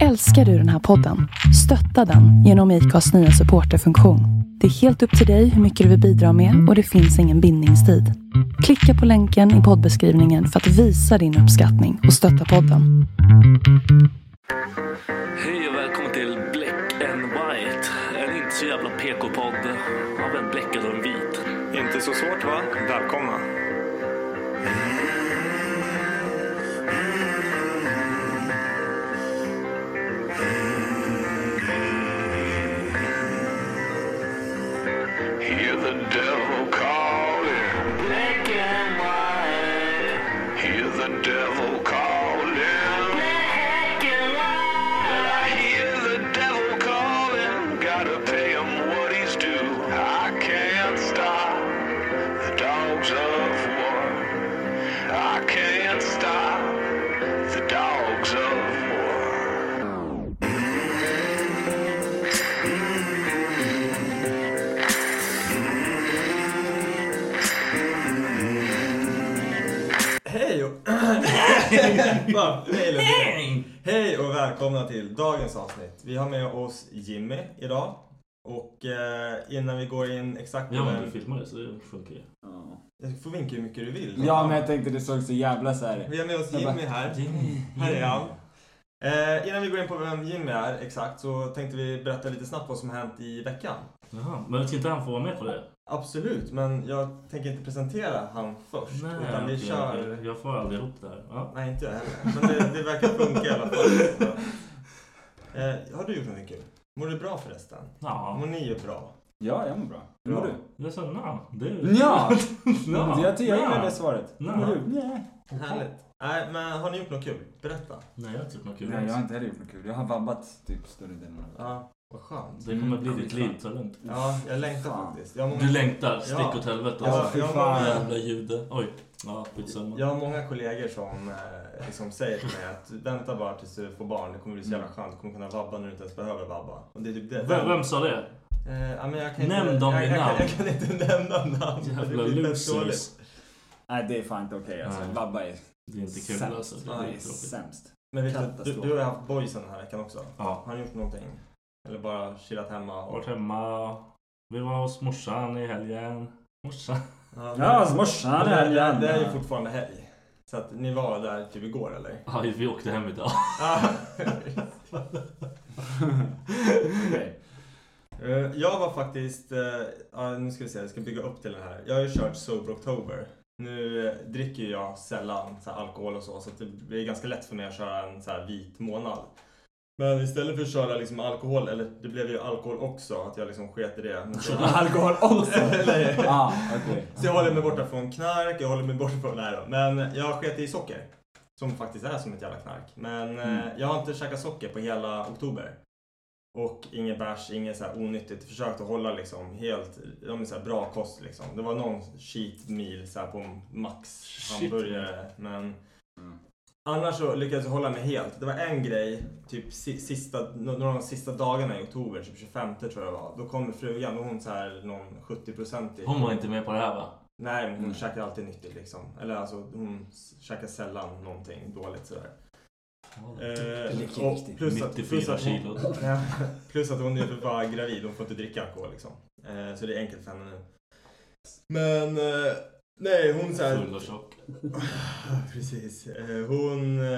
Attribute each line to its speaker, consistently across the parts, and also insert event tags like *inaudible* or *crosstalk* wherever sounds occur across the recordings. Speaker 1: Älskar du den här podden? Stötta den genom IKAs nya supporterfunktion. Det är helt upp till dig hur mycket du vill bidra med och det finns ingen bindningstid. Klicka på länken i poddbeskrivningen för att visa din uppskattning och stötta podden.
Speaker 2: Hej och välkommen till Black and White. En inte så jävla PK-podd av en bläckad och en vit.
Speaker 3: Inte så svårt va? Välkomna.
Speaker 4: Hear the devil calling. Black and white. Hear the devil calling. Black and white. I hear the devil calling. Gotta pay him what he's due. I can't stop the dogs of war. I can't stop the dogs of war.
Speaker 2: *laughs*
Speaker 3: Hej och... Va? Hej, Ludvig. Hej och välkomna till dagens avsnitt. Vi har med oss Jimmy idag. Och eh, innan vi går in exakt på
Speaker 2: Ja, men du
Speaker 3: vem...
Speaker 2: filmar det så det funkar ju.
Speaker 3: Du får vinka hur mycket du vill.
Speaker 5: Ja, men jag tänkte det såg så jävla så här.
Speaker 3: Vi har med oss
Speaker 5: Jag bara,
Speaker 3: Jimmy här. Här är han. Eh, innan vi går in på vem Jimmy är exakt så tänkte vi berätta lite snabbt vad som har hänt i veckan.
Speaker 2: Jaha, men ska inte han få vara med på det?
Speaker 3: Absolut, men jag tänker inte presentera han först. utan vi
Speaker 2: okej,
Speaker 3: kör...
Speaker 2: okej. Jag får aldrig ihop det här. Ja.
Speaker 3: Nej, inte jag heller. Men det, det verkar funka i alla fall. Eh, har du gjort något kul? Mår du bra förresten? Mår
Speaker 2: Ja,
Speaker 3: ni ju bra?
Speaker 5: Ja, jag mår bra. Hur mår
Speaker 3: Bra.
Speaker 5: du?
Speaker 2: jag sa nja. Det är...
Speaker 5: *laughs* Ja.
Speaker 2: Nja,
Speaker 5: Jag, ty- jag
Speaker 2: nja.
Speaker 5: gillar det svaret. Hur mår
Speaker 2: Nja.
Speaker 5: du? Nej.
Speaker 3: Härligt. Nej, men har ni gjort något kul? Berätta.
Speaker 2: Nej, jag har inte gjort något kul.
Speaker 5: Nej, jag har inte heller gjort något kul. Jag har vabbat typ större delen av det.
Speaker 3: Ja, vad skönt.
Speaker 2: Det kommer
Speaker 5: Mm,
Speaker 2: bli
Speaker 5: det är
Speaker 2: ditt liv,
Speaker 5: klart.
Speaker 2: ta det lugnt.
Speaker 3: Ja, jag längtar
Speaker 5: Fan.
Speaker 3: faktiskt. Jag har
Speaker 2: Du
Speaker 3: många,
Speaker 2: längtar, stick
Speaker 3: Ja.
Speaker 2: åt helvete.
Speaker 3: Ja,
Speaker 2: Alltså.
Speaker 5: fy
Speaker 3: jag, har
Speaker 5: fan.
Speaker 3: många,
Speaker 2: Jävla jude. Oj, ja, skitsamma.
Speaker 3: jag har många kollegor som eh, liksom säger till mig att vänta bara tills du får barn. Det kommer bli så jävla skönt. Du kommer kunna vabba när du inte ens behöver vabba. Och det är typ det.
Speaker 2: Mm. Vem, vem sa det?
Speaker 3: Eh, ja, men jag kan inte,
Speaker 2: Nämn dem
Speaker 3: jag,
Speaker 2: vid
Speaker 3: jag,
Speaker 2: namn.
Speaker 3: Kan, jag kan inte nämna namn. Det
Speaker 2: Jävla
Speaker 3: blir fett
Speaker 2: losers.
Speaker 3: dåligt.
Speaker 5: Nej, det är fan inte okej alltså.
Speaker 2: Nej.
Speaker 5: Vabba är
Speaker 2: Det är inte kul
Speaker 5: sämst.
Speaker 2: alltså. Det
Speaker 5: Det
Speaker 2: är
Speaker 5: är
Speaker 2: skittråkigt.
Speaker 5: sämst.
Speaker 3: Men Victor, du,
Speaker 5: Katastrof.
Speaker 3: du har ju haft boysen den här veckan också.
Speaker 2: Ja.
Speaker 3: Har ni gjort någonting? Eller bara chillat hemma? Och...
Speaker 2: Varit hemma. Vi var hos morsan i helgen. Morsan? *laughs*
Speaker 5: Ja,
Speaker 3: men-
Speaker 5: så morsan
Speaker 3: men
Speaker 5: är
Speaker 3: det, det,
Speaker 5: jävla-
Speaker 3: det är ju fortfarande helg. Så att ni var där typ igår eller?
Speaker 2: Ja, vi åkte hem idag.
Speaker 3: Ah. *laughs*
Speaker 5: Okej.
Speaker 3: Eh, jag var faktiskt, eh, ja, nu ska vi se, jag ska bygga upp till den här. Jag har ju kört Sober October. Nu eh, dricker ju jag sällan så här, alkohol och så, så att det blir ganska lätt för mig att köra en så här, vit månad. Men istället för att köra liksom, alkohol, eller det blev ju alkohol också, att jag liksom sket i
Speaker 5: *laughs*
Speaker 3: det. Men så-
Speaker 5: Alkohol *laughs* också?
Speaker 3: *laughs*
Speaker 5: Ah.
Speaker 3: Eller-
Speaker 5: Ja, okej.
Speaker 3: Så jag håller mig borta från knark, jag håller mig borta från... Nej då. Men jag sket i socker. Som faktiskt är som ett jävla knark. Men eh, jag har inte käkat socker på hela oktober. Och inget bärs, inget så här onyttigt. Försökt att hålla liksom helt ja, men så här bra kost liksom. Det var någon cheat meal så här på max
Speaker 2: Shit.
Speaker 3: hamburgare. Men
Speaker 5: Mm.
Speaker 3: annars så lyckades jag hålla mig helt. Det var en grej, typ si- sista, några av de sista dagarna i oktober, typ 25 tror jag det var. Då kom frugan, då var hon så här någon 70-procentig.
Speaker 2: Hon var inte med på det här va?
Speaker 3: Nej, men hon
Speaker 5: Mm.
Speaker 3: käkar alltid nyttigt liksom. Eller alltså, hon s- käkar sällan någonting dåligt sådär. Eh, och plus, att, plus,
Speaker 2: 94
Speaker 3: att hon,
Speaker 2: Typ kilo.
Speaker 3: Ja, *laughs* plus att hon är för bara gravid, hon får inte dricka alkohol liksom. Eh, så det är enkelt för henne nu. Men, eh, nej hon
Speaker 2: Full
Speaker 3: såhär...
Speaker 2: och tjock.
Speaker 3: *sighs* Precis. Eh, hon, eh,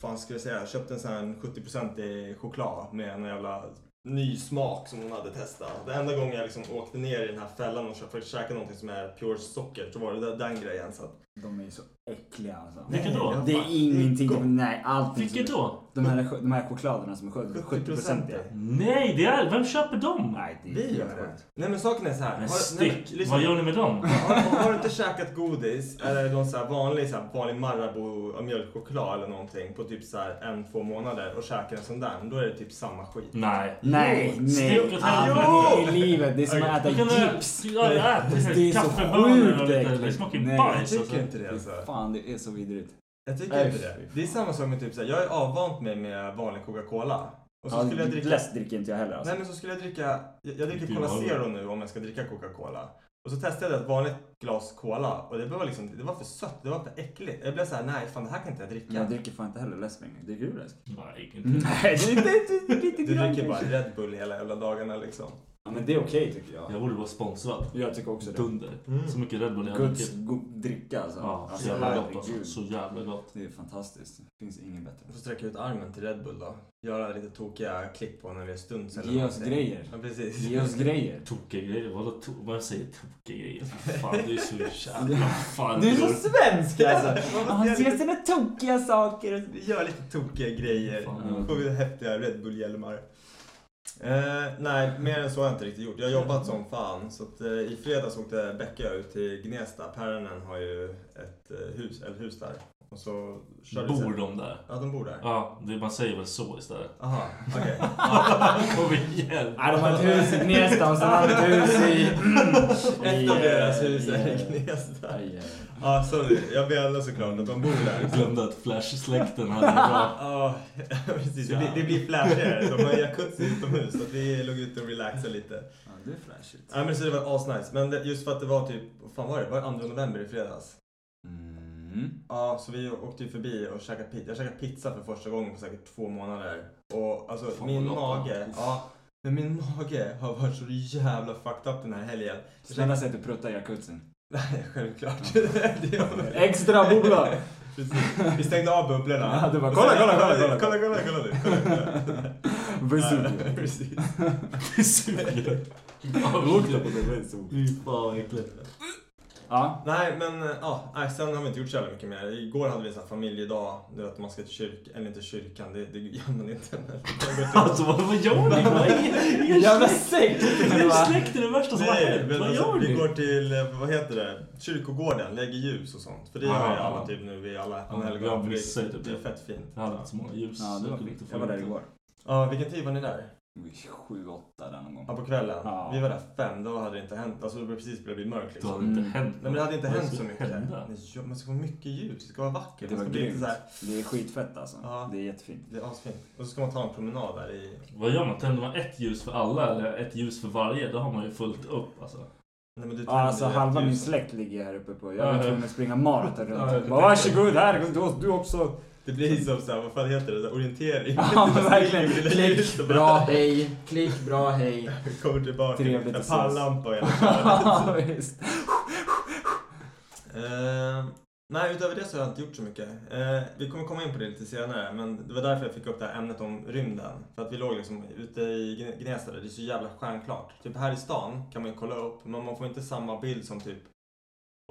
Speaker 3: fan ska jag säga, köpte en sån här 70% choklad med en jävla ny smak som hon hade testat. Det enda gången jag liksom åkte ner i den här fällan och försökte käka någonting som är pure socker så var det där- den grejen. Så att
Speaker 5: De är ju så äckliga alltså.
Speaker 2: Vilka då?
Speaker 5: Det är ingenting.
Speaker 3: gott.
Speaker 5: Nej, allting.
Speaker 2: Vilket
Speaker 5: som-
Speaker 2: då?
Speaker 5: De här, de här chokladerna som är 70-procentiga.
Speaker 2: Nej, det är... Vem köper dem?
Speaker 5: Nej, det är
Speaker 3: Vi gör
Speaker 5: helt
Speaker 3: det.
Speaker 5: sjukt.
Speaker 3: Nej men saken är så här.
Speaker 2: Men
Speaker 3: Har, nej,
Speaker 2: stick.
Speaker 3: men, lyssna.
Speaker 2: Vad gör ni med dem?
Speaker 3: har, har du inte käkat godis eller någon så här vanlig, så här vanlig Marabou eh, mjölkchoklad eller någonting på typ så här en, två månader och käkar en sån där, då är det typ samma skit.
Speaker 2: Nej.
Speaker 5: Nej, Ah,
Speaker 2: Stick
Speaker 5: nej.
Speaker 2: åt
Speaker 5: Aldrig i
Speaker 2: helvete.
Speaker 5: livet. Det är som att äta
Speaker 2: Vi kan väl-
Speaker 5: gips.
Speaker 2: Ja, det är precis.
Speaker 5: Det är så
Speaker 2: Kaffebönor och
Speaker 5: sjukt
Speaker 2: lite... Det
Speaker 5: äckligt.
Speaker 2: smakar
Speaker 5: Nej,
Speaker 2: ju
Speaker 3: Jag
Speaker 2: bajs. alltså.
Speaker 3: tycker inte det alltså.
Speaker 5: Fy Fan, det är så vidrigt.
Speaker 3: Jag tycker
Speaker 5: Nej,
Speaker 3: inte
Speaker 5: fy
Speaker 3: det.
Speaker 5: fan.
Speaker 3: Det är samma sak med typ så här, jag är avvant mig med vanlig Coca-Cola. Och så skulle jag dricka...
Speaker 5: Läsk dricker inte jag heller alltså.
Speaker 3: Nej men så skulle jag dricka, jag, jag dricker
Speaker 2: Du
Speaker 3: Cola
Speaker 2: har-
Speaker 3: Zero nu om jag ska dricka Coca-Cola. Och så testade jag ett vanligt glas cola och det var, liksom, det var för sött, det var för äckligt. Jag blev såhär, nej fan det här kan inte jag dricka.
Speaker 5: Jag dricker fan inte heller läsk längre. Dricker du läsk?
Speaker 6: Nej, ingenting.
Speaker 5: *laughs* Nej, det är inte- inte lite
Speaker 3: Mm. du
Speaker 5: grann
Speaker 3: dricker bara
Speaker 5: kanske.
Speaker 3: Red Bull hela jävla dagarna liksom.
Speaker 5: Ja, men det är okej tycker jag.
Speaker 6: Jag borde vara sponsrad.
Speaker 5: Jag tycker också det.
Speaker 6: Dunder. Så mycket Red Bull jag har
Speaker 5: Guds
Speaker 6: druckit.
Speaker 5: god dricka alltså.
Speaker 6: Ja, så
Speaker 5: alltså
Speaker 6: jävla gott alltså.
Speaker 5: herregud.
Speaker 6: Så jävla gott.
Speaker 5: Det är fantastiskt. Det finns inget bättre.
Speaker 3: Du får sträcka ut armen till Red Bull då. Göra lite tokiga klipp på när vi är stunts eller
Speaker 5: Ge oss
Speaker 3: någonting.
Speaker 5: grejer.
Speaker 3: Ja precis. *laughs*
Speaker 5: Ge oss grejer.
Speaker 6: Tokiga grejer. Vadå to- vad jag säger tokiga grejer? Fan, du är så jävla fan.
Speaker 5: Du är så svensk alltså!
Speaker 3: Vad
Speaker 5: Han
Speaker 3: måste
Speaker 5: ser
Speaker 3: jag-
Speaker 5: sina tokiga saker. och-
Speaker 3: Vi gör lite tokiga grejer.
Speaker 6: Fan.
Speaker 3: Sjukt häftiga Red Bull-hjälmar. Eh, nej, mer än så har jag inte riktigt gjort. Jag har jobbat som fan. Så att, eh, I fredags åkte Becka ut till Gnesta. Päronen har ju ett eh, hus, eller hus där. Och så körde vi-
Speaker 6: Bor de där?
Speaker 3: Ja, de bor där.
Speaker 6: Ja, det, man säger väl så istället. *laughs*
Speaker 3: Aha, okej.
Speaker 6: Kom igen!
Speaker 5: Nej, de har ett hus i Gnesta och sen har de ett hus i... eh,
Speaker 3: Ett av deras hus är i
Speaker 5: Gnesta.
Speaker 3: Gnesta. Ja, sorry. Jag menar såklart att de bor där.
Speaker 6: *laughs* Jag glömde att Flash-släkten hade en
Speaker 3: *laughs*
Speaker 6: bra...
Speaker 3: Ja, precis. Det, blir- det blir flashigare. De har jacuzzi utomhus. Så att vi låg ute och relaxade lite.
Speaker 5: Ja, det är flashigt.
Speaker 3: Nej men så det var asnice. Men det, just för att det var typ, vad fan var det? Var det 2 november i fredags?
Speaker 5: Mm.
Speaker 3: Ja, så vi åkte ju förbi och käkade pizza. Jag käkade pizza för första gången på säkert två månader. Och alltså
Speaker 6: Fan,
Speaker 3: min
Speaker 6: vad gott.
Speaker 3: mage, ja. Men min mage har varit så jävla fucked up den här helgen.
Speaker 5: Snälla säg att du pruttar i jacuzzin.
Speaker 3: Nej, självklart. *laughs* Det gör man.
Speaker 5: Extra bubbla!
Speaker 3: Precis. Vi stängde av bubblorna.
Speaker 5: Ja, du bara, kolla, kolla, kolla, kolla.
Speaker 3: kolla, kolla, kolla, nu, kolla, kolla. Ja,
Speaker 5: Vesuvio. *laughs*
Speaker 3: Precis.
Speaker 6: Vesuvio.
Speaker 3: *laughs*
Speaker 5: Lukta på det, Vesuvio.
Speaker 6: Fy fan vad äckligt.
Speaker 5: Ja.
Speaker 3: *laughs* Nej men eh, ja, nej, sen har vi inte gjort så jävla mycket mer. Igår hade vi en sån här familjedag, du vet man ska till kyrkan, eller inte kyrkan, det, det gör man inte. Men
Speaker 6: Alltså *laughs* vad, vad gör ni? Vad är er
Speaker 5: Jävla
Speaker 6: släkt-
Speaker 5: sekt!
Speaker 6: er släkt är det värsta som har
Speaker 3: Nej,
Speaker 6: hänt.
Speaker 3: men
Speaker 6: Vad
Speaker 3: alltså,
Speaker 6: gör
Speaker 3: vi
Speaker 6: ni?
Speaker 3: går till, eh, vad heter det, kyrkogården, lägger ljus och sånt. För det
Speaker 6: Ja,
Speaker 3: gör ju
Speaker 6: ja,
Speaker 3: alla
Speaker 6: ja.
Speaker 3: typ nu, vi är alla
Speaker 6: Ah. Ja,
Speaker 3: anhelgon.
Speaker 6: vi har
Speaker 3: för det-
Speaker 6: missat typ
Speaker 3: Det är
Speaker 6: det.
Speaker 3: fett fint.
Speaker 6: Jag hade inte så många ljus.
Speaker 5: Ja, det var
Speaker 6: jag kunde
Speaker 5: fint.
Speaker 6: inte få
Speaker 5: Jag var
Speaker 6: in
Speaker 5: där
Speaker 6: det.
Speaker 5: igår.
Speaker 3: Ja, vilken tid var ni där?
Speaker 5: Sju, åtta där någon
Speaker 3: Ja,
Speaker 5: gång.
Speaker 3: på kvällen.
Speaker 5: Ja.
Speaker 3: Vi var där fem, då hade det inte hänt, alltså det var precis blev det mörkt
Speaker 6: Då
Speaker 3: liksom.
Speaker 6: hade det inte
Speaker 5: Mm.
Speaker 6: hänt
Speaker 3: Nej men det hade inte
Speaker 6: något.
Speaker 3: hänt
Speaker 6: Vad
Speaker 3: så
Speaker 6: skulle
Speaker 3: mycket.
Speaker 6: hända?
Speaker 3: Nej, ja, Man ska få mycket ljus, det ska vara vackert.
Speaker 5: Det
Speaker 3: Man
Speaker 5: var
Speaker 3: ska bli lite
Speaker 5: grymt.
Speaker 3: så här,
Speaker 5: Det är skitfett alltså.
Speaker 3: Ja.
Speaker 5: Det är jättefint.
Speaker 3: det är asfint. Och så ska man ta en promenad där i
Speaker 6: Vad gör man? Tänder man ett ljus för alla eller ett ljus för varje? Då har man ju fullt upp alltså.
Speaker 3: Nej, men du
Speaker 5: Ja,
Speaker 3: tänder
Speaker 5: alltså
Speaker 3: ju ett
Speaker 5: halva min
Speaker 3: ljus.
Speaker 5: släkt ligger här uppe på.
Speaker 6: Ja,
Speaker 5: Jag var
Speaker 6: ja.
Speaker 5: tvungen att springa maraton
Speaker 3: Ja, jag
Speaker 5: runt.
Speaker 3: kan
Speaker 5: Bara,
Speaker 3: tänka mig.
Speaker 5: Varsågod, här, du, du också.
Speaker 3: Det blir som såhär, vad fan heter det? Så här, Orientering.
Speaker 5: Ja,
Speaker 3: *laughs* Det blir
Speaker 5: verkligen.
Speaker 3: lite ljus och
Speaker 5: Klick,
Speaker 3: bara-
Speaker 5: bra, hej. Klick, bra, hej.
Speaker 3: *laughs* Kommer tillbaka.
Speaker 5: Trevligt
Speaker 3: En
Speaker 5: att ses.
Speaker 3: pannlampa och hela
Speaker 5: *laughs* Ja, visst.
Speaker 3: Eh, Nej, utöver det så har jag inte gjort så mycket. Eh, vi kommer komma in på det lite senare, men det var därför jag fick upp det här ämnet om rymden. För att vi låg liksom ute i Gn- Gnesta, där det är så jävla stjärnklart. Typ här i stan kan man ju kolla upp, men man får inte samma bild som typ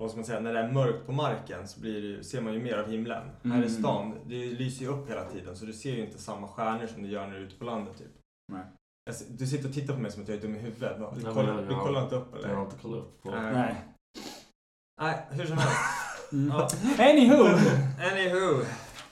Speaker 3: vad ska man säga, när det är mörkt på marken så blir det, ju- ser man ju mer av himlen. Här i
Speaker 5: Mm.
Speaker 3: stan, det lyser ju upp hela tiden så du ser ju inte samma stjärnor som du gör när du är ute på landet typ.
Speaker 5: Nej.
Speaker 3: Jag ser- Du sitter och tittar på mig som att jag är dum i huvudet. Va? Du,
Speaker 6: Nej,
Speaker 3: kollar,
Speaker 6: men jag-
Speaker 3: du kollar inte upp eller?
Speaker 6: Jag har inte kollat upp på.
Speaker 3: Nej.
Speaker 5: Nej.
Speaker 3: Nej, hur som helst.
Speaker 5: Mm.
Speaker 3: Ja.
Speaker 5: Anywho!
Speaker 3: Anywho.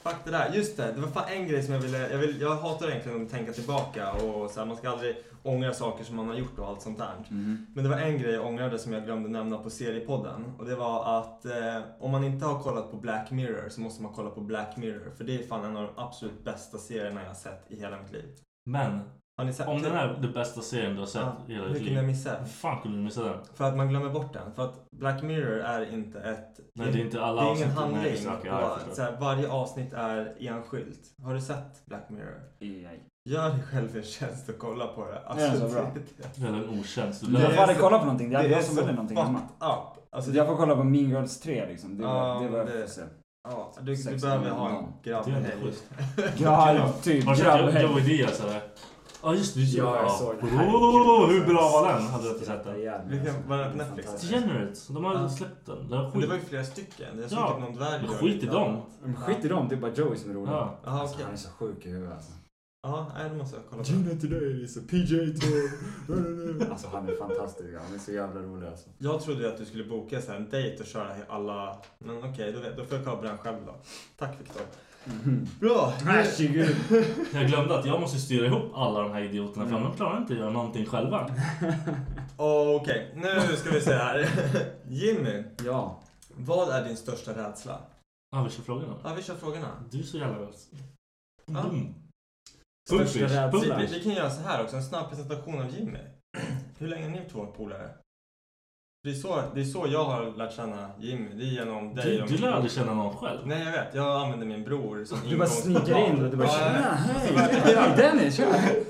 Speaker 3: Fuck det där. Just det, det var fan en grej som jag ville... Jag, vill, jag hatar egentligen att tänka tillbaka och så här, man ska aldrig ångra saker som man har gjort och allt sånt där.
Speaker 5: Mm.
Speaker 3: Men det var en grej jag ångrade som jag glömde nämna på seriepodden och det var att eh, om man inte har kollat på Black Mirror så måste man kolla på Black Mirror för det är fan en av de absolut bästa serierna jag har sett i hela mitt liv.
Speaker 6: Men
Speaker 3: Har ni sett
Speaker 6: om den är den bästa serien du har sett i hela
Speaker 3: Hur
Speaker 6: ditt
Speaker 3: kunde jag
Speaker 6: liv.
Speaker 3: missa den?
Speaker 6: Hur fan kunde du missa den?
Speaker 3: För att man glömmer bort den. För att Black Mirror är inte ett...
Speaker 6: Nej, det är inte alla
Speaker 3: det är
Speaker 6: avsnitt.
Speaker 3: ingen
Speaker 6: Nej,
Speaker 3: handling.
Speaker 6: exakt, ja, jag förstår.
Speaker 3: och, så här, varje avsnitt är enskilt. Har du sett Black Mirror? Gör dig själv en tjänst och kolla på det. Alltså,
Speaker 5: Det är så bra.
Speaker 3: det-
Speaker 6: Det är en otjänst.
Speaker 5: Jag får
Speaker 3: är
Speaker 5: aldrig
Speaker 3: så-
Speaker 5: kolla på någonting. Jag,
Speaker 3: det är
Speaker 5: jag som
Speaker 3: så
Speaker 5: väljer någonting hemma.
Speaker 3: fucked up. Alltså,
Speaker 5: Så jag får kolla på Mean Girls 3 liksom. Det var,
Speaker 3: Ja,
Speaker 5: det var
Speaker 3: men det-
Speaker 5: det... se.
Speaker 3: ja, du, du
Speaker 5: 16
Speaker 3: behöver ha en
Speaker 5: någon.
Speaker 3: grabb
Speaker 6: Det är inte
Speaker 3: helg.
Speaker 6: schysst.
Speaker 5: *laughs* Ja, typ.
Speaker 6: Har du sett
Speaker 5: Grabbhelg.
Speaker 6: Joey Diaz eller? Ja just det, just det.
Speaker 5: Ja, jag såg den.
Speaker 6: Åh, hur bra var den? Hade jag inte sett den.
Speaker 5: alltså.
Speaker 3: Vilken- var den på Netflix?
Speaker 6: Degenerates, de har
Speaker 3: Ja.
Speaker 6: släppt den. Den
Speaker 3: Men det var
Speaker 6: skit.
Speaker 3: ju flera stycken. Jag såg
Speaker 6: Ja,
Speaker 3: typ någon dvärg.
Speaker 6: men
Speaker 3: göra
Speaker 6: skit i
Speaker 3: lite
Speaker 6: dem.
Speaker 3: annat.
Speaker 5: Men skit i dem, det är bara Joey som är rolig.
Speaker 6: Ja.
Speaker 3: Jaha,
Speaker 5: Alltså,
Speaker 3: okej.
Speaker 5: han är så sjuk i huvudet alltså.
Speaker 3: Ja, nej, då måste jag kolla på den.
Speaker 5: Gina today is a PJ tour. alltså han är fantastisk, han är så jävla rolig alltså.
Speaker 3: Jag trodde ju att du skulle boka så här en dejt och köra alla... Men okej, då, vet- då får jag kolla på den själv då. Tack Viktor.
Speaker 5: Mhm.
Speaker 3: Bra!
Speaker 5: Varsågod!
Speaker 6: Jag glömde att jag måste styra ihop alla de här idioterna för
Speaker 3: Mm.
Speaker 6: de klarar inte att göra någonting själva.
Speaker 3: Okej, nu ska vi se här. *laughs* Jimmy,
Speaker 5: Ja.
Speaker 3: vad är din största rädsla?
Speaker 6: Ja, vi kör frågorna.
Speaker 3: Ja, vi kör frågorna.
Speaker 6: Du är så jävla
Speaker 3: Ja.
Speaker 6: dum.
Speaker 5: Största
Speaker 6: Pumpish,
Speaker 5: rädsla.
Speaker 3: Typ, Vi, vi,
Speaker 6: pumpish.
Speaker 3: *clears throat* vi kan göra så här också, en snabb presentation av Jimmy. Hur länge är ni två polare? Det är, så, det är så jag har lärt känna Jimmy. Det är genom dig.
Speaker 2: Du,
Speaker 3: och
Speaker 2: du
Speaker 3: min
Speaker 2: lär
Speaker 3: bror.
Speaker 2: aldrig känna någon själv.
Speaker 3: Nej, jag vet. Jag använder min bror som
Speaker 7: Du bara
Speaker 3: ingångs-
Speaker 7: sneakar in och du bara
Speaker 3: Ja,
Speaker 7: tjena,
Speaker 3: jag vet.
Speaker 7: hej,
Speaker 3: Så bara-
Speaker 7: hej Dennis, tja!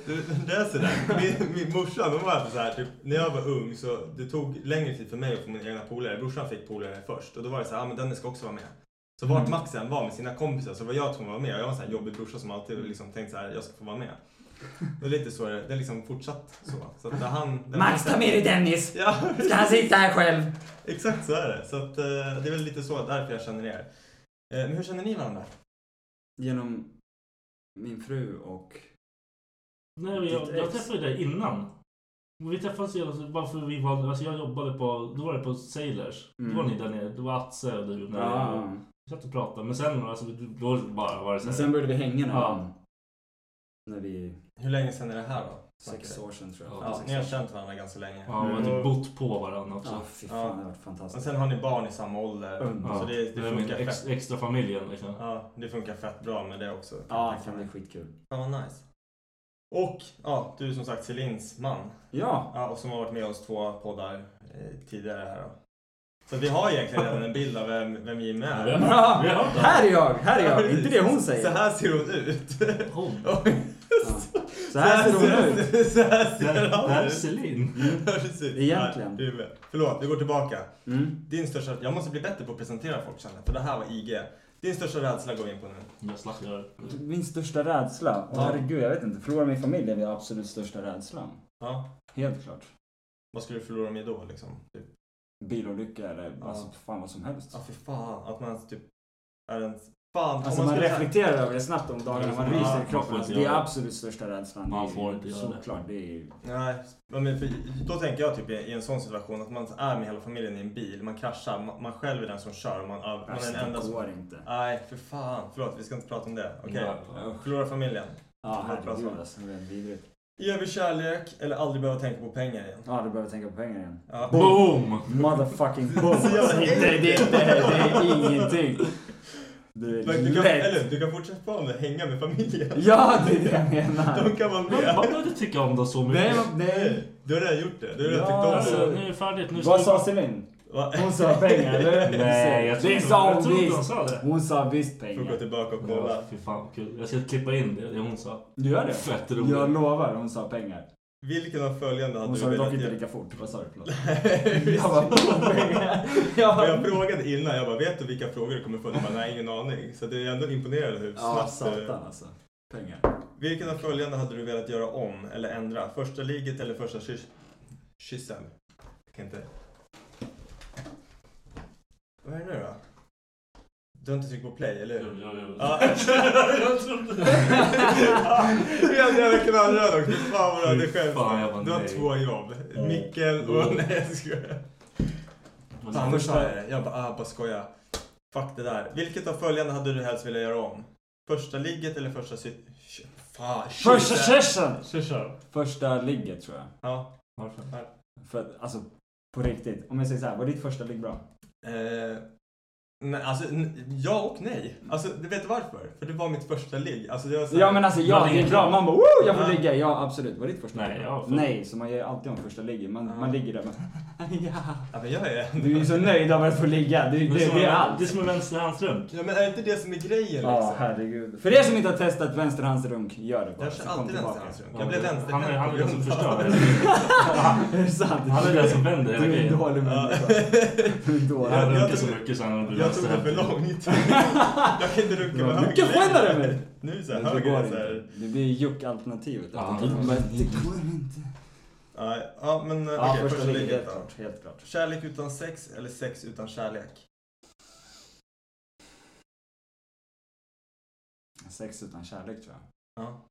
Speaker 3: Du, det är sådär. Min, min morsa, hon var alltid såhär, typ, när jag var ung så det tog längre tid för mig att få mina egna polare. Brorsan fick polare först och då var det såhär, ah, men Dennis ska också vara med. Så vart
Speaker 7: Mm.
Speaker 3: Max än var med sina kompisar så var jag tvungen att vara med. Jag var en sån här jobbig brorsa som alltid liksom tänkte såhär, jag ska få vara med. Det är lite så det det är liksom fortsatt så. så att när han, när
Speaker 7: Max ta med dig Dennis!
Speaker 3: Ja, *laughs*
Speaker 7: Ska han sitta här själv?
Speaker 3: exakt så är det. Så att, eh, det är väl lite så därför jag känner er. Eh, men hur känner ni varandra?
Speaker 5: Genom min fru och...
Speaker 2: Nej, men jag,
Speaker 5: Ditt
Speaker 2: jag
Speaker 5: ex.
Speaker 2: träffade dig innan. Vi träffades ju alltså bara för vi var, alltså jag jobbade på, då var det på Sailors.
Speaker 5: Mm.
Speaker 2: Då var ni där nere, det var Atze och du och jag.
Speaker 5: Ja.
Speaker 2: Vi satt och pratade men sen alltså, då bara var det
Speaker 5: Men
Speaker 2: så
Speaker 5: sen
Speaker 2: här.
Speaker 5: började vi hänga någon
Speaker 2: Ja.
Speaker 5: gång. När vi...
Speaker 3: Hur länge sedan är det här då?
Speaker 5: Sex år sedan tror jag.
Speaker 2: Ja,
Speaker 3: Ja, ni har känt varandra ganska länge.
Speaker 2: Ja, och
Speaker 5: Mm.
Speaker 2: typ bott på varandra också.
Speaker 5: Ja, fy fan det har varit
Speaker 3: Och
Speaker 5: fantastiskt.
Speaker 3: sen har ni barn i samma ålder.
Speaker 5: Mm.
Speaker 3: Så det, det
Speaker 2: är min
Speaker 3: funkar
Speaker 2: ex,
Speaker 3: fett.
Speaker 2: extra familjen liksom.
Speaker 3: Ja, det funkar fett bra med det också.
Speaker 5: Ja, fan det är skitkul.
Speaker 3: Fan vad nice. Och ja, du är som sagt Celins man.
Speaker 5: Ja!
Speaker 3: Ja, och som har varit med oss två poddar eh, tidigare här då. Så vi har egentligen redan en bild av vem, vem Jim är.
Speaker 2: Ja.
Speaker 5: Bra!
Speaker 2: Vi har hört det.
Speaker 5: Här är jag! Här är jag! Inte det hon
Speaker 3: Så
Speaker 5: säger.
Speaker 3: här ser hon
Speaker 2: *laughs*
Speaker 3: ut.
Speaker 2: Hon.
Speaker 5: Så här ser hon
Speaker 3: *laughs*
Speaker 5: ut.
Speaker 3: Så här
Speaker 2: Där,
Speaker 3: ser
Speaker 2: där
Speaker 3: hon
Speaker 2: är
Speaker 3: ut.
Speaker 2: Celine.
Speaker 3: Precis.
Speaker 5: Egentligen.
Speaker 3: Nej, du är med. Förlåt, vi går tillbaka.
Speaker 5: Mm.
Speaker 3: Din största... Jag måste bli bättre på att presentera folk känner jag, för det här var IG. Din största rädsla går vi in på nu.
Speaker 2: Jag slaktade.
Speaker 5: Min största rädsla? Åh,
Speaker 3: Ja.
Speaker 5: Herregud, jag vet inte. Förlora min familj är min absolut största rädslan.
Speaker 3: Ja.
Speaker 5: Helt klart.
Speaker 3: Vad skulle du förlora med då liksom? Typ.
Speaker 5: Bilolycka eller
Speaker 3: Ja.
Speaker 5: alltså, fan vad som helst.
Speaker 3: Ja, för fan. Att man ens typ är en... Fan. om
Speaker 5: Alltså man
Speaker 3: skulle-
Speaker 5: reflekterar över det snabbt om dagarna, man
Speaker 2: Ja,
Speaker 5: ryser
Speaker 2: man
Speaker 5: i
Speaker 2: får
Speaker 5: kroppen. Alltså,
Speaker 2: inte
Speaker 5: det
Speaker 2: göra
Speaker 5: är
Speaker 2: det.
Speaker 5: absolut största rädslan.
Speaker 2: Man
Speaker 5: Det är
Speaker 2: får inte göra det.
Speaker 5: Såklart, det är ju...
Speaker 3: Nej, men för, då tänker jag typ i, i en sån situation att man är med hela familjen i en bil, man kraschar, man, man själv är den som kör och man, man är
Speaker 5: Alltså,
Speaker 3: den enda
Speaker 5: det
Speaker 3: som...
Speaker 5: går inte.
Speaker 3: Nej, för fan. Förlåt, vi ska inte prata om det. Okej.
Speaker 2: Ja.
Speaker 3: Förlora familjen.
Speaker 5: Ja,
Speaker 3: Det var ett bra
Speaker 5: herregud
Speaker 3: svar.
Speaker 5: alltså. Det är vidrigt.
Speaker 3: Evig kärlek eller aldrig behöva tänka på pengar igen.
Speaker 5: Ja, du behöver tänka på pengar igen.
Speaker 3: Ja.
Speaker 2: Boom!
Speaker 5: Motherfucking boom!
Speaker 3: Så jävla
Speaker 5: Alltså, det, det, det, det, är ingenting. Det är
Speaker 3: Men Du kan,
Speaker 5: lätt.
Speaker 3: eller du kan fortsätta på om det, hänga med familjen.
Speaker 5: Ja, det är det jag
Speaker 3: *laughs*
Speaker 5: menar.
Speaker 3: De kan vara
Speaker 2: Man man
Speaker 3: med.
Speaker 2: behöver inte tycka om dem så
Speaker 5: Nej,
Speaker 2: mycket.
Speaker 5: men- nej.
Speaker 3: Du har redan gjort det. Du har redan
Speaker 5: Ja,
Speaker 3: tyckt
Speaker 2: Alltså,
Speaker 3: om
Speaker 5: alltså,
Speaker 3: det.
Speaker 2: nu är det färdigt. Nu
Speaker 5: Vad
Speaker 2: ska-
Speaker 5: sa Celine?
Speaker 3: Va?
Speaker 5: Hon sa pengar, eller?
Speaker 2: Nej, jag tror
Speaker 5: det
Speaker 2: inte-
Speaker 5: sa
Speaker 2: jag
Speaker 5: hon
Speaker 2: tror inte hon
Speaker 5: visst.
Speaker 2: sa det.
Speaker 5: Hon sa visst
Speaker 3: Får gå
Speaker 5: pengar.
Speaker 3: tillbaka och
Speaker 2: Ja,
Speaker 3: kolla.
Speaker 2: fy fan vad kul. Jag ska klippa in det, det hon sa.
Speaker 5: Du gör det?
Speaker 2: Fett roligt.
Speaker 5: Jag lovar, hon sa pengar.
Speaker 3: Vilken av följande hade
Speaker 5: Hon
Speaker 3: du
Speaker 5: sa dock
Speaker 3: velat
Speaker 5: inte
Speaker 3: ge?
Speaker 5: lika fort. Vad sa du? Förlåt.
Speaker 3: Jag
Speaker 5: Jag bara, pengar. Jag
Speaker 3: Men jag
Speaker 5: bara,
Speaker 3: frågade innan, jag bara vet du vilka frågor du kommer få? Du bara, nej ingen aning. Så det är ändå imponerande hur
Speaker 5: ja,
Speaker 3: snabbt du...
Speaker 5: satan alltså. Pengar.
Speaker 3: Vilken av följande hade du velat göra om eller ändra? Första ligget eller första kyss... kyssen? Jag kan inte... Vad är det nu då? Du har inte tryckt på play, eller
Speaker 2: Mm.
Speaker 3: hur? Ja. *laughs*
Speaker 2: Jag trodde...
Speaker 3: Jag blev jävla knallröd också. Fy Fan vad du hade
Speaker 2: Fy fan,
Speaker 3: skämt.
Speaker 2: jag bara,
Speaker 3: Du har
Speaker 2: nej. Mm.
Speaker 3: två jobb. Mickel och... Nej jag skojar. Fan, Alltså, först sa jag det. Jag bara, ah, bara skoja. Fuck det där. Vilket av följande hade du helst velat göra om? Första ligget eller första sit... Sh- Fan,
Speaker 5: Första
Speaker 3: shit.
Speaker 5: session!
Speaker 2: Kör.
Speaker 5: Första ligget tror jag.
Speaker 3: Ja.
Speaker 2: Varför?
Speaker 5: För att, alltså på riktigt. Om jag säger så här, var ditt första ligg bra?
Speaker 3: Eh, nej, alltså, n- ja och nej. Alltså, du vet varför? För det var mitt första ligg. Alltså, det var så här-
Speaker 5: Ja men alltså ja,
Speaker 2: Man
Speaker 5: det är
Speaker 2: ligger.
Speaker 5: bra. Man bara Woo, jag får
Speaker 3: Ja.
Speaker 5: ligga. Ja absolut. Var ditt första
Speaker 2: Nej,
Speaker 5: ligg bra?
Speaker 2: ja, för-
Speaker 5: Nej, så man gör ju alltid om första ligget. Man,
Speaker 3: Ja.
Speaker 5: man ligger där *laughs* man, ja.
Speaker 3: Ja, men jag är...
Speaker 5: Du är ju så nöjd över att få ligga. Du, det, det,
Speaker 2: som
Speaker 5: är
Speaker 2: en-
Speaker 5: allt.
Speaker 2: Det är som en vänsterhandsrunk.
Speaker 3: Ja, men är det inte det som är grejen
Speaker 5: Ja,
Speaker 3: liksom?
Speaker 5: herregud. För er som inte har testat vänsterhandsrunk, gör det bara.
Speaker 3: jag
Speaker 5: så
Speaker 3: kör
Speaker 5: kom
Speaker 3: alltid
Speaker 5: tillbaka.
Speaker 3: vänsterhandsrunk. Jag blev vänsterhänt.
Speaker 2: Han är, han är den som
Speaker 3: på grund av-
Speaker 5: *laughs*
Speaker 2: förstör.
Speaker 5: Är det sant?
Speaker 2: Han är den som vänder hela
Speaker 5: Du är en
Speaker 2: grejen.
Speaker 5: dålig
Speaker 3: Ja.
Speaker 5: människa. Du är en dålig.
Speaker 2: Han
Speaker 3: Jag
Speaker 2: runkar så
Speaker 3: tog-
Speaker 2: mycket så han blir
Speaker 3: Jag tog det
Speaker 2: vänsterhänt.
Speaker 3: för
Speaker 5: *laughs*
Speaker 3: långt. jag kan inte runka
Speaker 5: Du
Speaker 3: med
Speaker 5: har
Speaker 3: höger
Speaker 5: mycket
Speaker 3: längre.
Speaker 5: skönare än mig.
Speaker 3: Nu är så här,
Speaker 5: Men Det
Speaker 3: höger
Speaker 5: går
Speaker 3: är så här...
Speaker 5: inte. Det blir juck-alternativet.
Speaker 2: Ja.
Speaker 5: efteråt. Man bara, Det går inte.
Speaker 3: Nej, Ja, men eh,
Speaker 5: Ja,
Speaker 3: okej,
Speaker 5: första ligget. Helt
Speaker 3: då.
Speaker 5: klart. Helt klart.
Speaker 3: Kärlek utan sex eller sex utan kärlek?
Speaker 5: Sex utan kärlek tror jag.
Speaker 3: Ja.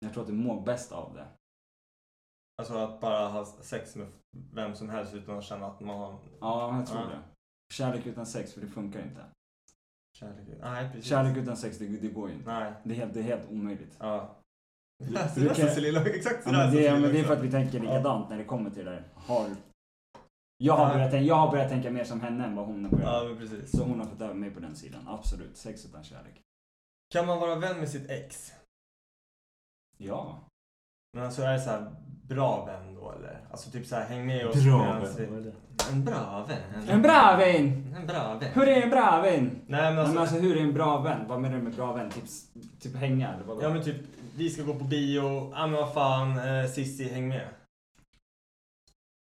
Speaker 5: Jag tror att du mår bäst av det.
Speaker 3: Alltså att bara ha sex med vem som helst utan att känna att man har
Speaker 5: Ja, jag tror
Speaker 3: Ja.
Speaker 5: det. Kärlek utan sex, för det funkar inte.
Speaker 3: kärlek. Nej, precis.
Speaker 5: Kärlek utan sex, det, det går ju inte.
Speaker 3: Nej,
Speaker 5: Det är helt, det är helt omöjligt.
Speaker 3: ja. *laughs*
Speaker 5: Du-
Speaker 3: Alltså,
Speaker 5: du
Speaker 3: det är
Speaker 5: kan-
Speaker 3: så Celina- Exakt
Speaker 5: Ja,
Speaker 3: sådär
Speaker 5: men
Speaker 3: som
Speaker 5: det,
Speaker 3: Celina
Speaker 5: men det är
Speaker 3: också.
Speaker 5: för att vi tänker likadant när det kommer till det där. Har... Jag, har börjat, tänka- jag har börjat tänka mer som henne än vad hon har
Speaker 3: Ja,
Speaker 5: börjat.
Speaker 3: men precis.
Speaker 5: Så hon har fått över mig på den sidan. Absolut. Sex utan kärlek.
Speaker 3: Kan man vara vän med sitt ex?
Speaker 5: Ja.
Speaker 3: Men alltså är det så här, bra vän då eller? Alltså typ så här, häng med oss.
Speaker 6: Bra
Speaker 3: medans vi-
Speaker 6: vän, vad är det?
Speaker 3: En bra vän.
Speaker 5: En bra vän!
Speaker 3: En bra vän.
Speaker 5: Hur är en bra vän?
Speaker 3: Nej men
Speaker 5: Nej, men
Speaker 3: alltså.
Speaker 5: alltså hur är en bra vän? Vad menar du med bra vän? Typ, typ hänga eller vadå?
Speaker 3: Ja men typ, vi ska gå på bio. Ja men vad fan, eh, Sissi häng med.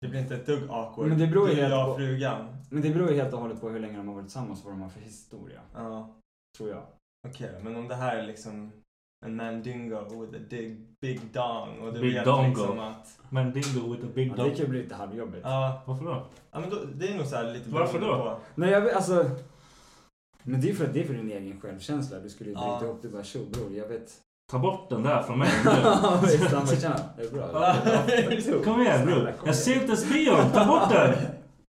Speaker 3: Det blir inte ett dugg awkward.
Speaker 5: Men det beror ju
Speaker 3: Du,
Speaker 5: helt
Speaker 3: jag och
Speaker 5: på-
Speaker 3: frugan.
Speaker 5: Men det beror ju helt och hållet på hur länge de har varit tillsammans och vad de har för historia.
Speaker 3: Ja,
Speaker 5: Tror jag.
Speaker 3: okej. Men om det här är liksom en mandingo with a big, big dong. Och du
Speaker 6: Big
Speaker 3: vet
Speaker 6: dongo.
Speaker 3: liksom att...
Speaker 6: Men dingo with a big
Speaker 5: Ja, det
Speaker 6: dog.
Speaker 5: kan ju bli lite halvjobbigt.
Speaker 3: Ja,
Speaker 6: Varför då?
Speaker 3: ja men då, det är nog så här lite
Speaker 6: Varför
Speaker 3: beroende
Speaker 6: då?
Speaker 3: på-
Speaker 5: Nej jag vet, alltså. Men det är för att det är för din egen självkänsla. Du skulle ju bryta
Speaker 3: Ja.
Speaker 5: ihop det bara tjo bror, jag vet.
Speaker 6: Ta bort den där från mig
Speaker 2: *laughs*
Speaker 5: Ja,
Speaker 6: nu.
Speaker 5: visst, han bara, tjena, det är bra.
Speaker 6: Kom igen bror. Jag ser inte spion. Ta bort den.
Speaker 3: *laughs*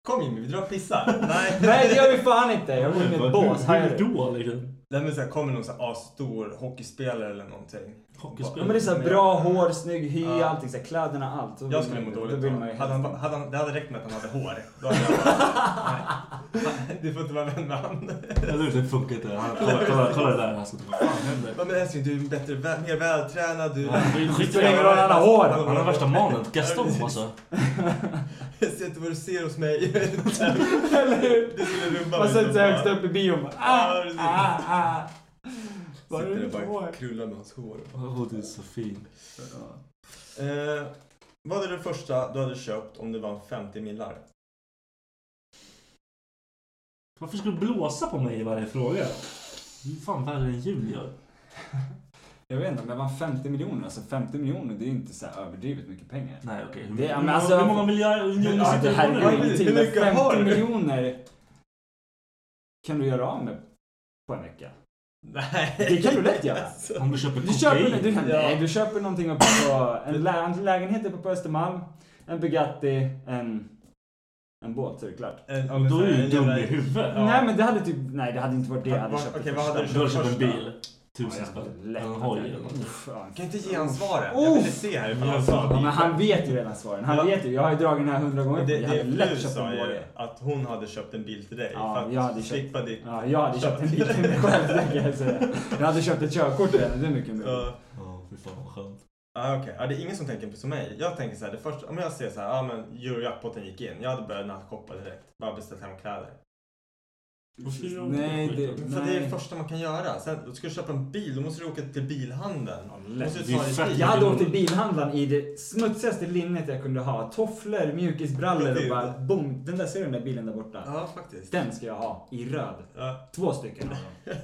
Speaker 3: Kom Jimmy, vi drar
Speaker 6: *laughs*
Speaker 3: och pissar. Nej.
Speaker 5: Nej det gör vi fan inte! Jag blir med ett bås. Här
Speaker 6: Hur
Speaker 5: är det.
Speaker 6: då liksom?
Speaker 3: Nej men såhär, kommer någon såhär asstor hockeyspelare eller någonting.
Speaker 6: Hockeyspelare.
Speaker 5: Ja men det är såhär bra hår, snygg hy,
Speaker 3: Ja.
Speaker 5: allting. Så här, kläderna, allt. Då
Speaker 3: Jag
Speaker 5: vill
Speaker 3: skulle
Speaker 5: man
Speaker 3: må
Speaker 5: ju- Då
Speaker 3: dåligt
Speaker 5: vill
Speaker 3: då.
Speaker 5: man ju
Speaker 3: hade han,
Speaker 5: helst-
Speaker 3: bara- hade han, Det hade räckt med att han hade *laughs* hår. Då hade jag bara, nej, du får inte vara vän med han.
Speaker 6: Eller hur? Det funkar inte. Han- Kolla, kolla, kolla det där. Alltså, vad fan händer?
Speaker 3: Ja, Men älskling, du är bättre, vä- mer vältränad. Du,
Speaker 6: Ja, det skiter
Speaker 5: spelar ingen roll, han har hår.
Speaker 6: Han har värsta manet. Gaston alltså.
Speaker 3: Jag *laughs* ser inte vad du ser hos mig. *laughs*
Speaker 5: Eller hur?
Speaker 3: Det skulle rubba
Speaker 5: Man
Speaker 3: mig
Speaker 5: sätter
Speaker 3: som
Speaker 5: sig högst
Speaker 3: fan.
Speaker 5: upp i bion. bara,
Speaker 3: Ja,
Speaker 5: Ah,
Speaker 3: precis.
Speaker 5: ah, ah. Vad är
Speaker 3: Sitter
Speaker 5: det
Speaker 3: där
Speaker 5: för
Speaker 3: bara
Speaker 5: hår?
Speaker 3: och krullar med hans hår.
Speaker 6: Åh, du är så fin.
Speaker 3: Eh, vad är det första du hade köpt om du vann 50 millar?
Speaker 6: Varför ska du blåsa på mig i varje fråga? Det är fan värre än Julia.
Speaker 5: Jag vet inte, men vad 50 miljoner? Alltså 50 miljoner, det är ju inte så här överdrivet mycket pengar.
Speaker 6: Nej okej.
Speaker 5: Det- ja,
Speaker 6: Hur,
Speaker 5: men alltså-
Speaker 6: hur många miljarder unioner
Speaker 5: Ja, det
Speaker 6: sitter i
Speaker 5: här
Speaker 6: bollen?
Speaker 5: är ju
Speaker 3: Hur
Speaker 5: ingenting. Men
Speaker 3: mycket har
Speaker 5: 50
Speaker 3: du?
Speaker 5: miljoner kan du göra av med på en vecka.
Speaker 3: Nej.
Speaker 5: Det kan du lätt göra.
Speaker 6: Om du köper
Speaker 5: Du köper,
Speaker 6: kokain.
Speaker 5: du,
Speaker 3: Ja.
Speaker 5: nej, du köper någonting uppe på en, lä, en lägenhet uppe på Östermalm, en Bugatti, en, en båt så är det klart.
Speaker 3: Eh, ja,
Speaker 6: Men
Speaker 3: men
Speaker 6: Då
Speaker 3: så
Speaker 6: är
Speaker 3: här,
Speaker 6: du
Speaker 3: en
Speaker 6: dum
Speaker 3: jävla-
Speaker 6: i huvudet.
Speaker 3: Ja.
Speaker 5: Nej men det hade typ, nej det hade inte varit det jag hade
Speaker 3: Vad-
Speaker 5: köpt.
Speaker 3: okej,
Speaker 5: det
Speaker 3: vad hade
Speaker 5: första.
Speaker 3: du
Speaker 6: Du har köpt en
Speaker 3: Första.
Speaker 6: bil.
Speaker 5: Ja,
Speaker 6: Tusen
Speaker 5: jag hade
Speaker 6: spänn.
Speaker 5: lätt
Speaker 6: En
Speaker 5: att
Speaker 6: hoj
Speaker 5: göra
Speaker 6: eller
Speaker 5: det.
Speaker 6: något.
Speaker 5: Uff, ja.
Speaker 3: Jag kan inte ge han svaren. Jag ville se här ifall han sa
Speaker 5: Oh! Ja, men
Speaker 3: det.
Speaker 5: han vet ju redan svaren. Han
Speaker 3: Ja.
Speaker 5: vet ju. Jag har ju dragit den här hundra gånger.
Speaker 3: Men Det,
Speaker 5: jag hade
Speaker 3: det
Speaker 5: lätt
Speaker 3: du
Speaker 5: köpt
Speaker 3: sa
Speaker 5: en
Speaker 3: ju
Speaker 5: Borg.
Speaker 3: att hon hade köpt en bil till dig
Speaker 5: Ja,
Speaker 3: för att
Speaker 5: jag hade
Speaker 3: slippa ditt...
Speaker 5: Ja, jag hade köpt en bil till mig *laughs* själv, det kan jag säga. Jag hade köpt ett körkort till henne, det är mycket mer.
Speaker 3: Så,
Speaker 6: Ja, fy fan vad skönt.
Speaker 3: ah, okej. Ja, det är ingen som tänker på som mig. Jag tänker så här, det första, om jag ser så här, ja ah, men Eurojackpotten gick in. Jag hade börjat nattshoppa direkt. Bara beställt hem kläder.
Speaker 6: Varför gör du
Speaker 5: Nej,
Speaker 6: inte skit?
Speaker 5: det,
Speaker 3: För det är
Speaker 5: nej.
Speaker 3: det första man kan göra. Sen, ska du köpa en bil, då måste du åka till bilhandeln.
Speaker 5: Ja,
Speaker 3: Då måste
Speaker 6: Det
Speaker 3: du
Speaker 6: är
Speaker 3: ta dig
Speaker 6: fett
Speaker 3: dit.
Speaker 5: Jag hade åkt till bilhandlaren i det smutsigaste linnet jag kunde ha. Tofflor, mjukisbrallor och bara boom. Den där, ser du den där bilen där borta?
Speaker 3: Ja, faktiskt.
Speaker 5: Den ska jag ha i röd.
Speaker 3: Ja.
Speaker 5: Två stycken av dem.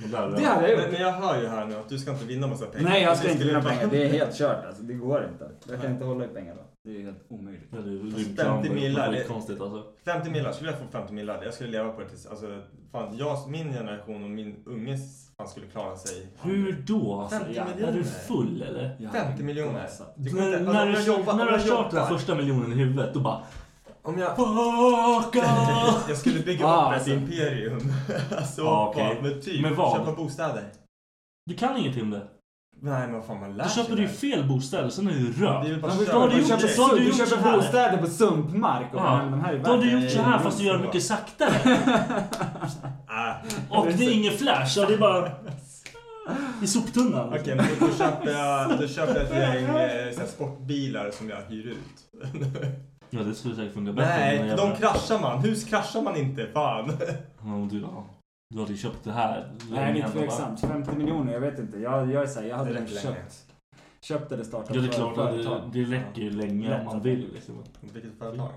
Speaker 6: Men där,
Speaker 5: Det
Speaker 6: där.
Speaker 5: hade jag
Speaker 3: Men,
Speaker 5: gjort.
Speaker 3: men jag hör ju här nu att du ska inte vinna massa pengar.
Speaker 5: Nej, jag
Speaker 3: Du
Speaker 5: ska inte
Speaker 3: skulle
Speaker 5: vinna
Speaker 3: bara-
Speaker 5: pengar. Det är helt kört alltså. Det går inte. Jag kan inte hålla i pengar då. Det är helt omöjligt.
Speaker 6: Ja, det är
Speaker 3: Fast 50
Speaker 6: rymdkramper. Det
Speaker 3: millar,
Speaker 6: är
Speaker 3: det-
Speaker 6: skitkonstigt alltså.
Speaker 3: 50 millar, skulle jag få 50 millar, jag skulle leva på det tills, alltså, fan, jag, min generation och min unges fan skulle klara sig.
Speaker 6: Hur då? Alltså,
Speaker 3: 50
Speaker 6: ja, är
Speaker 3: miljoner.
Speaker 6: du full eller?
Speaker 5: Jag hade
Speaker 3: 50 miljoner.
Speaker 5: gasat.
Speaker 3: Det kommer
Speaker 6: när,
Speaker 3: inte-
Speaker 6: när,
Speaker 3: om jag
Speaker 6: du,
Speaker 3: jobbar-
Speaker 6: när
Speaker 3: om
Speaker 6: du
Speaker 3: jag
Speaker 6: har kört den
Speaker 3: jobbar-
Speaker 6: första miljonen i huvudet, då bara...
Speaker 3: Om jag...
Speaker 6: Fucka!
Speaker 3: *laughs* Jag skulle bygga
Speaker 5: Ah,
Speaker 3: upp ett
Speaker 5: alltså.
Speaker 3: imperium. *laughs* alltså,
Speaker 6: Ja, okej.
Speaker 3: vad, men typ,
Speaker 6: Med vad?
Speaker 3: köpa bostäder.
Speaker 6: Du kan ingenting om det.
Speaker 3: Nej, men vad fan, man lär
Speaker 6: Då köper du ju
Speaker 3: det.
Speaker 6: fel bostäder, sen är du
Speaker 3: Det är
Speaker 6: röd.
Speaker 3: väl bara
Speaker 5: Man
Speaker 3: att
Speaker 5: förstår,
Speaker 3: köra.
Speaker 6: du
Speaker 5: du
Speaker 6: gjort
Speaker 5: köper,
Speaker 6: det?
Speaker 5: så,
Speaker 6: Har du
Speaker 5: du
Speaker 6: gjort så
Speaker 5: köper
Speaker 6: här?
Speaker 5: bostäder på sumpmark och
Speaker 6: Ja.
Speaker 5: men de här är
Speaker 6: Då har du gjort
Speaker 5: värt-
Speaker 6: så här fast du gör det mycket
Speaker 3: *laughs*
Speaker 6: saktare.
Speaker 3: Ah,
Speaker 6: Och det är ingen flash, ja, det är bara... I soptunnan.
Speaker 3: Okej, men då, då, köper jag, då köper jag ett gäng eh, så här, sportbilar som jag hyr ut.
Speaker 6: Ja, det skulle säkert funka bättre. än
Speaker 3: Nej,
Speaker 6: den
Speaker 3: de
Speaker 6: jävla-
Speaker 3: kraschar man. Hus kraschar man inte, fan.
Speaker 6: Ja, men du, ja. du hade ju köpt det här.
Speaker 5: Nej, det
Speaker 6: Ändå,
Speaker 5: är
Speaker 6: va?
Speaker 5: tveksamt. 50 miljoner, jag vet inte. Jag, jag är såhär, jag hade
Speaker 3: Det
Speaker 5: nog
Speaker 3: räcker länge.
Speaker 5: köpt. Köpt eller startat
Speaker 6: Ja, det är klart. att
Speaker 5: företag.
Speaker 6: Det, det räcker ju länge om man vill. Liksom.
Speaker 3: Vilket företag?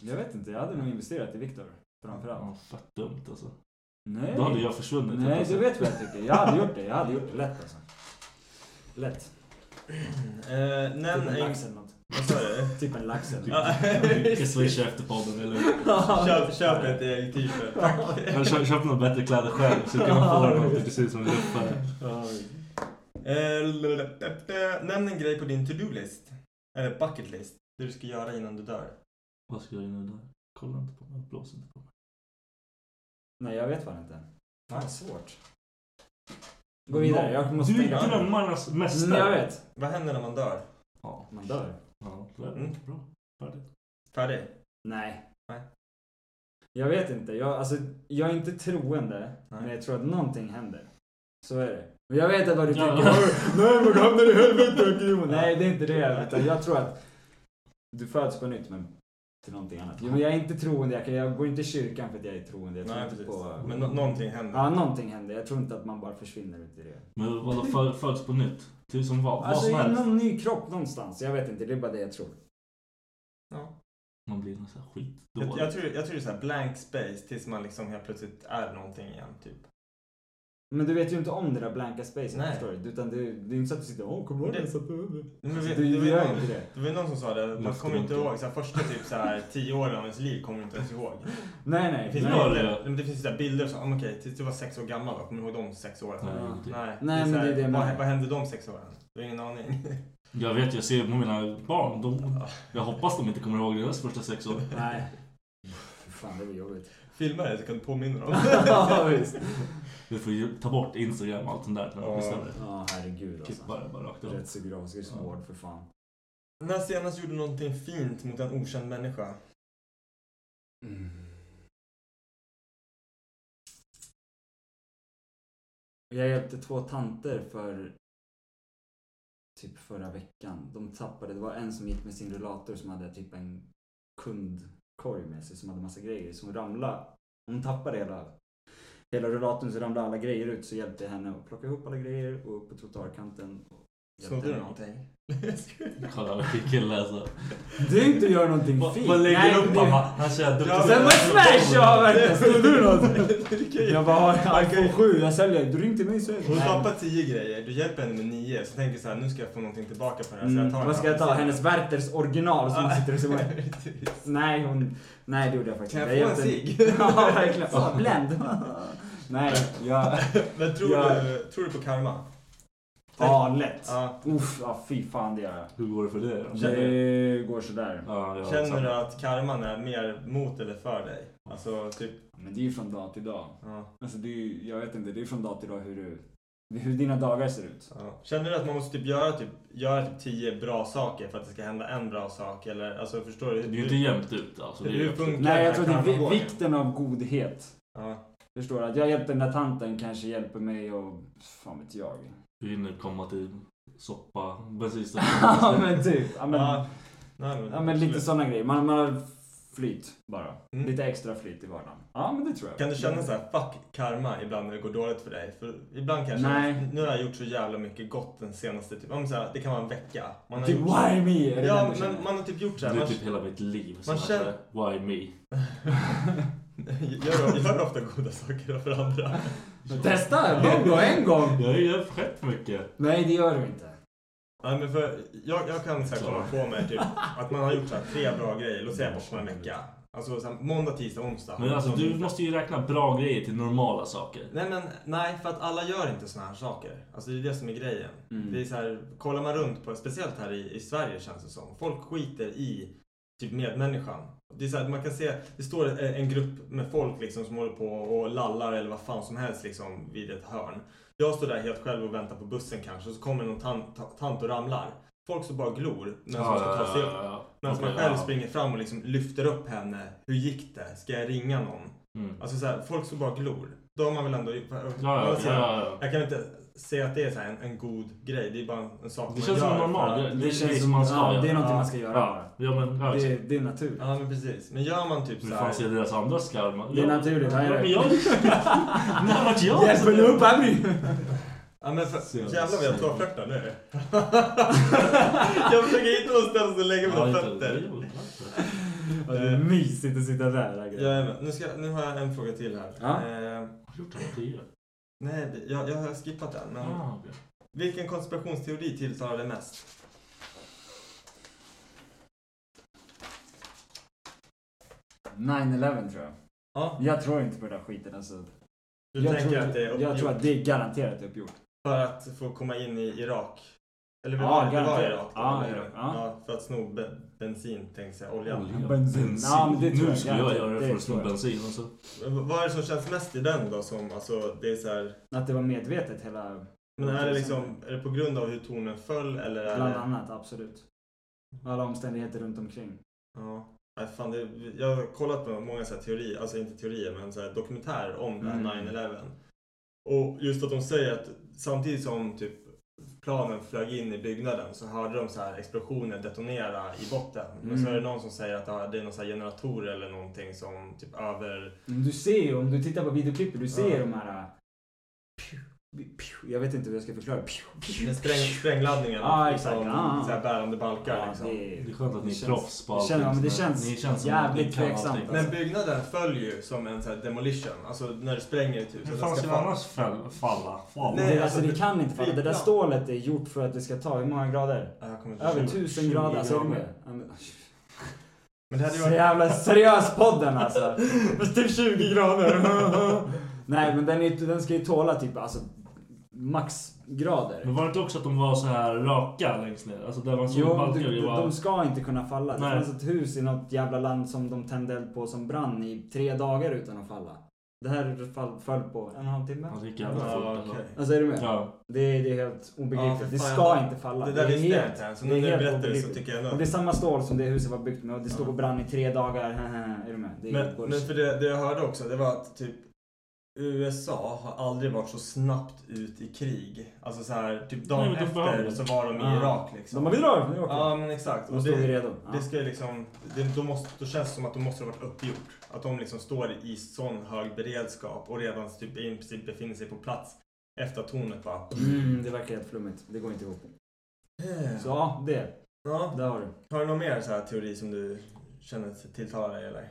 Speaker 5: Jag vet inte, jag hade nog investerat i Viktor. Framförallt.
Speaker 6: Ja, fett dumt alltså.
Speaker 5: Nej.
Speaker 6: Då hade jag försvunnit. helt
Speaker 5: Nej, du
Speaker 6: plötsligt.
Speaker 5: vet vad jag tycker. Jag hade gjort det. Jag hade gjort det lätt alltså. Lätt.
Speaker 3: Eh,
Speaker 5: Typ
Speaker 3: nämn
Speaker 5: en
Speaker 3: en...
Speaker 5: lax eller något.
Speaker 3: Vad sa du?
Speaker 5: Typ en lax eller något.
Speaker 3: Ja.
Speaker 6: Du kan swisha efter podden eller...
Speaker 3: Köp, köp ett eget t-shirt, tack.
Speaker 6: Eller köp, köp några bättre kläder själv så kan man få något som ser ut som en luffare.
Speaker 3: Eh, lalalala. Nämn en grej på din to-do-list. Eller bucket list. Det du ska göra innan du dör.
Speaker 6: Vad ska jag göra nu där? Kolla inte på mig, blås inte på mig.
Speaker 5: *laughs* Nej, jag vet fan inte. Fan, svårt.
Speaker 6: Nå-
Speaker 5: Gå vidare, jag måste
Speaker 6: Du
Speaker 5: tänka.
Speaker 6: är drömmarnas mästare.
Speaker 5: Mm, jag vet.
Speaker 3: Vad händer när man dör?
Speaker 6: Ja,
Speaker 5: Man dör.
Speaker 6: ja det är
Speaker 3: Mm.
Speaker 6: bra. Färdigt.
Speaker 3: Färdig?
Speaker 5: Nej.
Speaker 3: Nej.
Speaker 5: Jag vet inte. Jag, alltså, jag är inte troende,
Speaker 3: Nej.
Speaker 5: men jag tror att någonting händer. Så är det. Och jag vet att vad du
Speaker 6: Ja.
Speaker 5: tycker. *laughs* Nej men hamnar i helvete Gud." Nej det är inte det. Utan jag tror att du föds på nytt men till någonting annat. Jo, men jag är inte troende. Jag, kan, jag går inte i kyrkan för att jag är troende. Jag tror
Speaker 3: Nej,
Speaker 5: inte
Speaker 3: precis.
Speaker 5: på... eh,
Speaker 3: Men nå- någonting händer.
Speaker 5: Ja någonting händer. Jag tror inte att man bara försvinner ut i det.
Speaker 6: Men vadå, för, föds på nytt? Tusen vad? Vad
Speaker 5: Alltså
Speaker 6: som
Speaker 5: i
Speaker 6: helst.
Speaker 5: någon ny kropp någonstans. Jag vet inte. Det är bara det jag tror.
Speaker 6: Man blir någon sån här skitdålig.
Speaker 3: Jag, jag, tror, jag tror det är så här blank space tills man liksom helt plötsligt är någonting igen. Typ.
Speaker 5: Men du vet ju inte om det där blanka spacet
Speaker 3: Nej.
Speaker 5: förstår du? Utan det, det är inte så att du sitter och kommer du ihåg
Speaker 3: Det-
Speaker 5: det? Så att du-
Speaker 3: Men
Speaker 5: Alltså,
Speaker 3: vet-
Speaker 5: Du
Speaker 3: vet
Speaker 5: du gör
Speaker 3: någon-
Speaker 5: inte det.
Speaker 3: Det var ju någon som sa det, man
Speaker 6: Luften
Speaker 3: kommer inte
Speaker 6: runt.
Speaker 3: ihåg. Så här, första typ så här, tio åren av ens liv kommer du inte ens ihåg. Det
Speaker 5: Nej nej.
Speaker 3: finns,
Speaker 5: nej.
Speaker 6: Ja,
Speaker 3: bilder,
Speaker 6: ja.
Speaker 3: men det finns så här bilder och så, ah, men okej, tills du var sex år gammal då, kommer du ihåg de sex åren?
Speaker 6: Nej,
Speaker 5: Ja.
Speaker 6: jag vet inte.
Speaker 3: Nej,
Speaker 5: Nej,
Speaker 3: så
Speaker 5: men det är
Speaker 3: här,
Speaker 5: det jag
Speaker 3: vad,
Speaker 5: menar.
Speaker 3: vad hände de sex åren? Du har ingen aning.
Speaker 6: Jag vet, jag ser på mina barn. De, jag hoppas de inte kommer ihåg deras första sex år.
Speaker 5: Nej. Fy Fan det blir jobbigt.
Speaker 3: Filma det så kan du påminna dem.
Speaker 5: *laughs* ja visst.
Speaker 6: Du får ju ta bort Instagram och allt sånt där. När de
Speaker 3: Ja.
Speaker 6: blir större.
Speaker 5: Ja herregud
Speaker 6: Klippa
Speaker 5: alltså.
Speaker 6: det bara Typ rakt av.
Speaker 5: Rättspsykiatrisk
Speaker 6: Ja.
Speaker 5: vård för fan.
Speaker 3: När senast gjorde du någonting fint mot en okänd människa?
Speaker 5: Mm. Jag hjälpte två tanter för typ förra veckan. De tappade, det var en som gick med sin rullator som hade typ en kundkorg med sig som hade massa grejer. Så hon ramlade, hon tappade hela, hela rullatorn så ramlade alla grejer ut. Så hjälpte jag henne att plocka ihop alla grejer och upp på trottoarkanten. och hjälpte
Speaker 3: Snodde du
Speaker 5: henne.
Speaker 3: någonting?
Speaker 6: Kolla artikeln läsa.
Speaker 5: Du inte gör någonting
Speaker 6: Vad
Speaker 5: fint.
Speaker 6: vad lägger du upp?
Speaker 5: det-
Speaker 6: Han bara, han kör duktig.
Speaker 5: Sen var smash jag verkligen. Snodde du något?
Speaker 3: något?
Speaker 5: Jag bara, har iPhone 7, jag säljer. Du ring till mig så
Speaker 3: *laughs* Hon tappar tio grejer, du hjälper henne med nio, så tänker du så här, nu ska jag få någonting tillbaka på det här. Så
Speaker 5: Mm,
Speaker 3: jag tar
Speaker 5: vad ska jag ta? Hennes Werthers original som
Speaker 3: Ja.
Speaker 5: sitter och simmar.
Speaker 3: *laughs* Precis.
Speaker 5: Nej, hon... Nej, det gjorde jag faktiskt
Speaker 3: Kan jag
Speaker 5: inte.
Speaker 3: få en
Speaker 5: hjälpte-
Speaker 3: cigg?
Speaker 5: *laughs* ja, verkligen. Åh, bländ. Nej, jag...
Speaker 3: Men tror,
Speaker 5: Ja.
Speaker 3: du, tror du på karma?
Speaker 5: Ja, lätt.
Speaker 3: Ja.
Speaker 5: Uff, ja, fy fan det gör jag.
Speaker 6: Hur går det för dig då?
Speaker 5: Det går sådär.
Speaker 6: Ja, jag
Speaker 3: Känner du att karman är mer mot eller för dig? Alltså, typ...
Speaker 5: Men det är ju från dag till dag.
Speaker 3: Ja,
Speaker 5: Alltså, det är ju, jag vet inte, det är från dag till dag hur du... Hur dina dagar ser ut.
Speaker 3: ja. Känner du att man måste typ göra, typ göra typ tio bra saker för att det ska hända en bra sak? Eller, alltså, förstår du?
Speaker 6: Det är ju inte jämnt ut alltså. Det är ju
Speaker 3: Hur funkar
Speaker 5: Nej, jag
Speaker 3: den
Speaker 5: tror
Speaker 3: här
Speaker 5: att det är vi-
Speaker 3: karmagången?
Speaker 5: vikten av godhet.
Speaker 3: Ja.
Speaker 5: Förstår du? Att jag hjälper den där tanten kanske hjälper mig och... Fan
Speaker 3: *laughs*
Speaker 5: vet jag.
Speaker 6: Du hinner komma till soppa,
Speaker 5: ja,
Speaker 6: bensinstationen.
Speaker 5: men typ. Ja, men,
Speaker 3: Ja. Nej,
Speaker 5: Ja men lite sådana grejer. Man, man har flyt bara.
Speaker 3: Mm.
Speaker 5: Lite extra flyt i vardagen. Ja men det tror jag.
Speaker 3: Kan du känna så här, fuck karma ibland när det går dåligt för dig? För ibland kanske,
Speaker 5: Nej.
Speaker 3: nu har jag gjort så jävla mycket gott den senaste, typ, ja, men så här, det kan vara en vecka. Man har
Speaker 5: Typ
Speaker 3: gjort-
Speaker 5: why me? Är det den
Speaker 3: Ja,
Speaker 5: du känner?
Speaker 3: men man har typ gjort så
Speaker 6: Det
Speaker 3: här.
Speaker 6: är
Speaker 3: Man, *laughs*
Speaker 6: typ hela mitt liv. som
Speaker 3: man
Speaker 6: är
Speaker 3: känner-
Speaker 6: så här, Why me?
Speaker 3: gör, gör ofta goda saker för andra.
Speaker 5: Men Testa! Någon gång, en gång!
Speaker 6: Jag har ju fett mycket.
Speaker 5: Nej det gör du inte.
Speaker 3: Nej, men för jag, jag kan så här komma på mig typ, att man har gjort så här, tre bra grejer, låt säga bortom en vecka. Alltså så här, måndag, tisdag, onsdag.
Speaker 6: Men alltså
Speaker 3: Som-
Speaker 6: du måste ju räkna bra grejer till normala saker.
Speaker 3: Nej, men nej, för att alla gör inte såna här saker. Alltså det är det som är grejen.
Speaker 5: Mm.
Speaker 3: Det är så här, kollar man runt på, speciellt här i, i Sverige känns det som. Folk skiter i typ medmänniskan. Det är så här, man kan se, det står en- en grupp med folk liksom som håller på och lallar eller vad fan som helst liksom vid ett hörn. Jag står där helt själv och väntar på bussen kanske och så kommer någon tant, ta- tant och ramlar. Folk står bara och glor medan man ska ta sig upp.
Speaker 6: ja.
Speaker 3: Medan man
Speaker 6: Okej,
Speaker 3: själv
Speaker 6: ja.
Speaker 3: springer fram och liksom lyfter upp henne. Hur gick det? Ska jag ringa någon?
Speaker 6: Mm.
Speaker 3: Alltså så här, folk står bara och glor. Då har man väl ändå...
Speaker 6: Ja, ja, ja, ja.
Speaker 3: Jag kan inte säga att det är så här en, en god grej. Det är bara en sak
Speaker 6: Det känns som en normal grej. Det känns som man ska
Speaker 5: ja,
Speaker 6: göra.
Speaker 5: Det är någonting
Speaker 6: Ja.
Speaker 5: man ska göra
Speaker 6: Ja,
Speaker 5: bara.
Speaker 6: ja men ja,
Speaker 5: Det, det är naturligt.
Speaker 3: Ja, men precis. Men gör man typ så
Speaker 6: Hur fan ser
Speaker 3: här...
Speaker 6: deras andra skarma
Speaker 5: Det är naturligt,
Speaker 6: Ja, *laughs*
Speaker 5: här är det.
Speaker 6: men jag... När vart jag?
Speaker 5: Hjälper du upp Abby?
Speaker 3: Ja, men för...
Speaker 6: Ser-
Speaker 3: Jävlar vad jag
Speaker 6: *laughs*
Speaker 3: torrflörtar nu. jag försöker hitta någonstans att lägga
Speaker 6: Ja,
Speaker 3: mina
Speaker 6: inte- det är
Speaker 3: fötter.
Speaker 6: ju-
Speaker 5: Ja, det är mysigt att sitta där. Agge.
Speaker 3: Eh. Ja, men, nu, ska, nu har jag en fråga till här.
Speaker 5: Ja.
Speaker 3: Eh,
Speaker 6: Har du gjort det här tidigare?
Speaker 3: nej, det- jag, jag har skippat den. Men
Speaker 6: Ah, okej.
Speaker 3: Vilken konspirationsteori tilltalar dig mest?
Speaker 5: nine 9-11 tror jag.
Speaker 3: Ja,
Speaker 5: Jag tror inte på den där skiten alltså.
Speaker 3: du
Speaker 5: jag
Speaker 3: tänker
Speaker 5: tror,
Speaker 3: att det är
Speaker 5: Jag
Speaker 3: uppgjort
Speaker 5: tror att det är garanterat uppgjort.
Speaker 3: för att få komma in i Irak? Eller
Speaker 5: Ja,
Speaker 3: var, det var
Speaker 5: garanterat.
Speaker 3: Irak? då,
Speaker 5: Ja,
Speaker 3: eller hur?
Speaker 5: ja.
Speaker 3: ja, för att sno be- bensin, tänkte jag säga. Olja.
Speaker 6: Olja.
Speaker 5: Bensin. Ja, men det tror
Speaker 6: Nu
Speaker 5: jag
Speaker 6: skulle jag
Speaker 5: garanterat.
Speaker 6: göra
Speaker 5: Det
Speaker 6: det för att
Speaker 5: tror
Speaker 6: sno
Speaker 5: jag.
Speaker 6: bensin. Alltså.
Speaker 3: Men Vad är det som känns mest i den då? Som, alltså, det är så här,
Speaker 5: Att det var medvetet hela...
Speaker 3: men är det, liksom, är det på grund av hur tornen föll eller? Är
Speaker 5: Bland
Speaker 3: det,
Speaker 5: annat, absolut. Alla omständigheter runt omkring.
Speaker 3: ja, Nej, fan, det, jag har kollat på många så här teorier, alltså inte teorier men så här dokumentärer om det här
Speaker 5: Mm.
Speaker 3: 9-11. Och just att de säger att samtidigt som typ planen flög in i byggnaden så hörde de så här explosioner detonera i botten. Men så är
Speaker 5: Mm.
Speaker 3: det någon som säger att det här- det är någon så här generator eller någonting som typ över...
Speaker 5: Men Du ser ju, om du tittar på videoklippet, du ser
Speaker 3: Ja.
Speaker 5: de här... äh, Pew, pew, jag vet inte hur jag ska förklara. Pew, pew,
Speaker 3: Med spräng, sprängladdningen.
Speaker 5: Typ Ja,
Speaker 3: liksom,
Speaker 5: exakt. Ja.
Speaker 3: så här bärande balkar
Speaker 5: Ja,
Speaker 3: liksom.
Speaker 5: det är-
Speaker 6: Det är skönt att ni är
Speaker 5: känns-
Speaker 6: proffs på
Speaker 5: det känns- ja, men det känns
Speaker 6: Ni känns som
Speaker 5: jävligt
Speaker 6: ni kan
Speaker 5: tveksamt,
Speaker 6: allting.
Speaker 5: alltså.
Speaker 3: Men byggnaden föll ju som en så här demolition. Alltså när du spränger ett hus.
Speaker 6: Hur
Speaker 3: att
Speaker 6: fan
Speaker 3: den
Speaker 6: ska
Speaker 3: ska
Speaker 6: det
Speaker 3: falla.
Speaker 6: annars fäll- falla? Falla?
Speaker 3: Nej,
Speaker 5: det, alltså,
Speaker 3: alltså,
Speaker 5: det kan inte falla. Det där
Speaker 3: flygplan.
Speaker 5: stålet är gjort för att det ska ta, hur många grader?
Speaker 3: Ja, jag kommer inte
Speaker 5: Över
Speaker 3: ihåg.
Speaker 5: 1000
Speaker 3: 20
Speaker 5: grader. Alltså, är du med? Ja, men-
Speaker 3: Men det hade ju
Speaker 5: Så
Speaker 3: varit...
Speaker 5: jävla seriös podden alltså. Fast typ 20 grader. *laughs* Nej men den, är, den ska ju tåla typ alltså maxgrader.
Speaker 6: Men var det inte också att de var så här raka längst ner? Alltså där man såg
Speaker 5: Jo,
Speaker 6: balkar
Speaker 5: du,
Speaker 6: det
Speaker 5: du,
Speaker 6: var...
Speaker 5: de ska inte kunna falla. Det
Speaker 6: Nej.
Speaker 5: fanns ett hus i något jävla land som de tände eld på som brann i tre dagar utan att falla. Det här fall, föll på en och en halv timme.
Speaker 6: Alltså, det gick jävla fort
Speaker 3: Ja,
Speaker 6: ändå.
Speaker 3: okej.
Speaker 5: Alltså är du med?
Speaker 6: Ja.
Speaker 5: Det, är- det är helt
Speaker 3: Ja,
Speaker 5: obegripligt.
Speaker 3: för
Speaker 5: det
Speaker 3: fan,
Speaker 5: ska
Speaker 3: jag-
Speaker 5: inte falla.
Speaker 3: Det där
Speaker 5: är
Speaker 3: visste jag
Speaker 5: helt-
Speaker 3: inte ens. Så
Speaker 5: det är
Speaker 3: nu när du
Speaker 5: helt
Speaker 3: berättar det så
Speaker 5: obegripligt.
Speaker 3: tycker jag
Speaker 5: Och
Speaker 3: ändå
Speaker 5: det är
Speaker 3: att-
Speaker 5: samma stål som det huset var byggt med och det stod
Speaker 3: Ja.
Speaker 5: och brann i tre dagar. *laughs* är du med? Det liksom. är
Speaker 3: Men, men
Speaker 5: bullshit.
Speaker 3: för det, det jag hörde också, det var att typ USA har aldrig varit så snabbt ut i krig. Alltså så här, typ
Speaker 6: Nej,
Speaker 3: dagen
Speaker 6: men de behöver
Speaker 3: efter
Speaker 6: det.
Speaker 3: så var de i
Speaker 5: Ja.
Speaker 3: Irak liksom.
Speaker 5: De bara, vi drar från New York.
Speaker 3: Ja men exakt.
Speaker 5: Då
Speaker 3: Och
Speaker 5: står vi
Speaker 3: det,
Speaker 5: redo. Ja.
Speaker 3: det ska ju liksom, det, då, måste, då känns det som att de måste ha varit uppgjort. Att de liksom står i sån hög beredskap och redan typ i princip befinner sig på plats efter att tornet bara...
Speaker 5: Mm, det verkar helt flummigt. Det går inte ihop. Så
Speaker 3: Så.
Speaker 5: ja, det.
Speaker 3: Ja.
Speaker 5: Där har du.
Speaker 3: Har du någon mer så här teori som du känner tilltalar dig eller?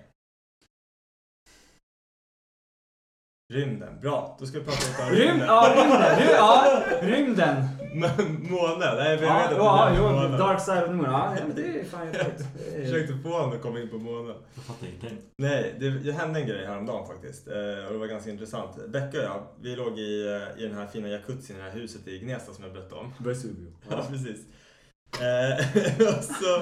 Speaker 3: Rymden, bra. Då ska vi prata lite om
Speaker 5: Rymd! Ja, rymden! Du,
Speaker 3: *laughs*
Speaker 5: ja, rymden!
Speaker 3: Men månen, nej vi
Speaker 5: Ja,
Speaker 3: vet att
Speaker 5: ja,
Speaker 3: det är
Speaker 5: jo,
Speaker 3: månen.
Speaker 5: Dark Side of the Moon. Ja, ja, men det är fan helt rätt.
Speaker 3: Jag försökte få honom att komma in på månen.
Speaker 6: Jag fattar ingenting.
Speaker 3: Nej, det, det hände en grej häromdagen faktiskt. Eh, och det var ganska intressant. Becka och jag, vi låg i, eh, i den här fina jacuzzin i det här huset i Gnesta som jag berättade om.
Speaker 5: Vesuvio.
Speaker 3: Ja, *laughs* precis. Eh, *laughs* och så,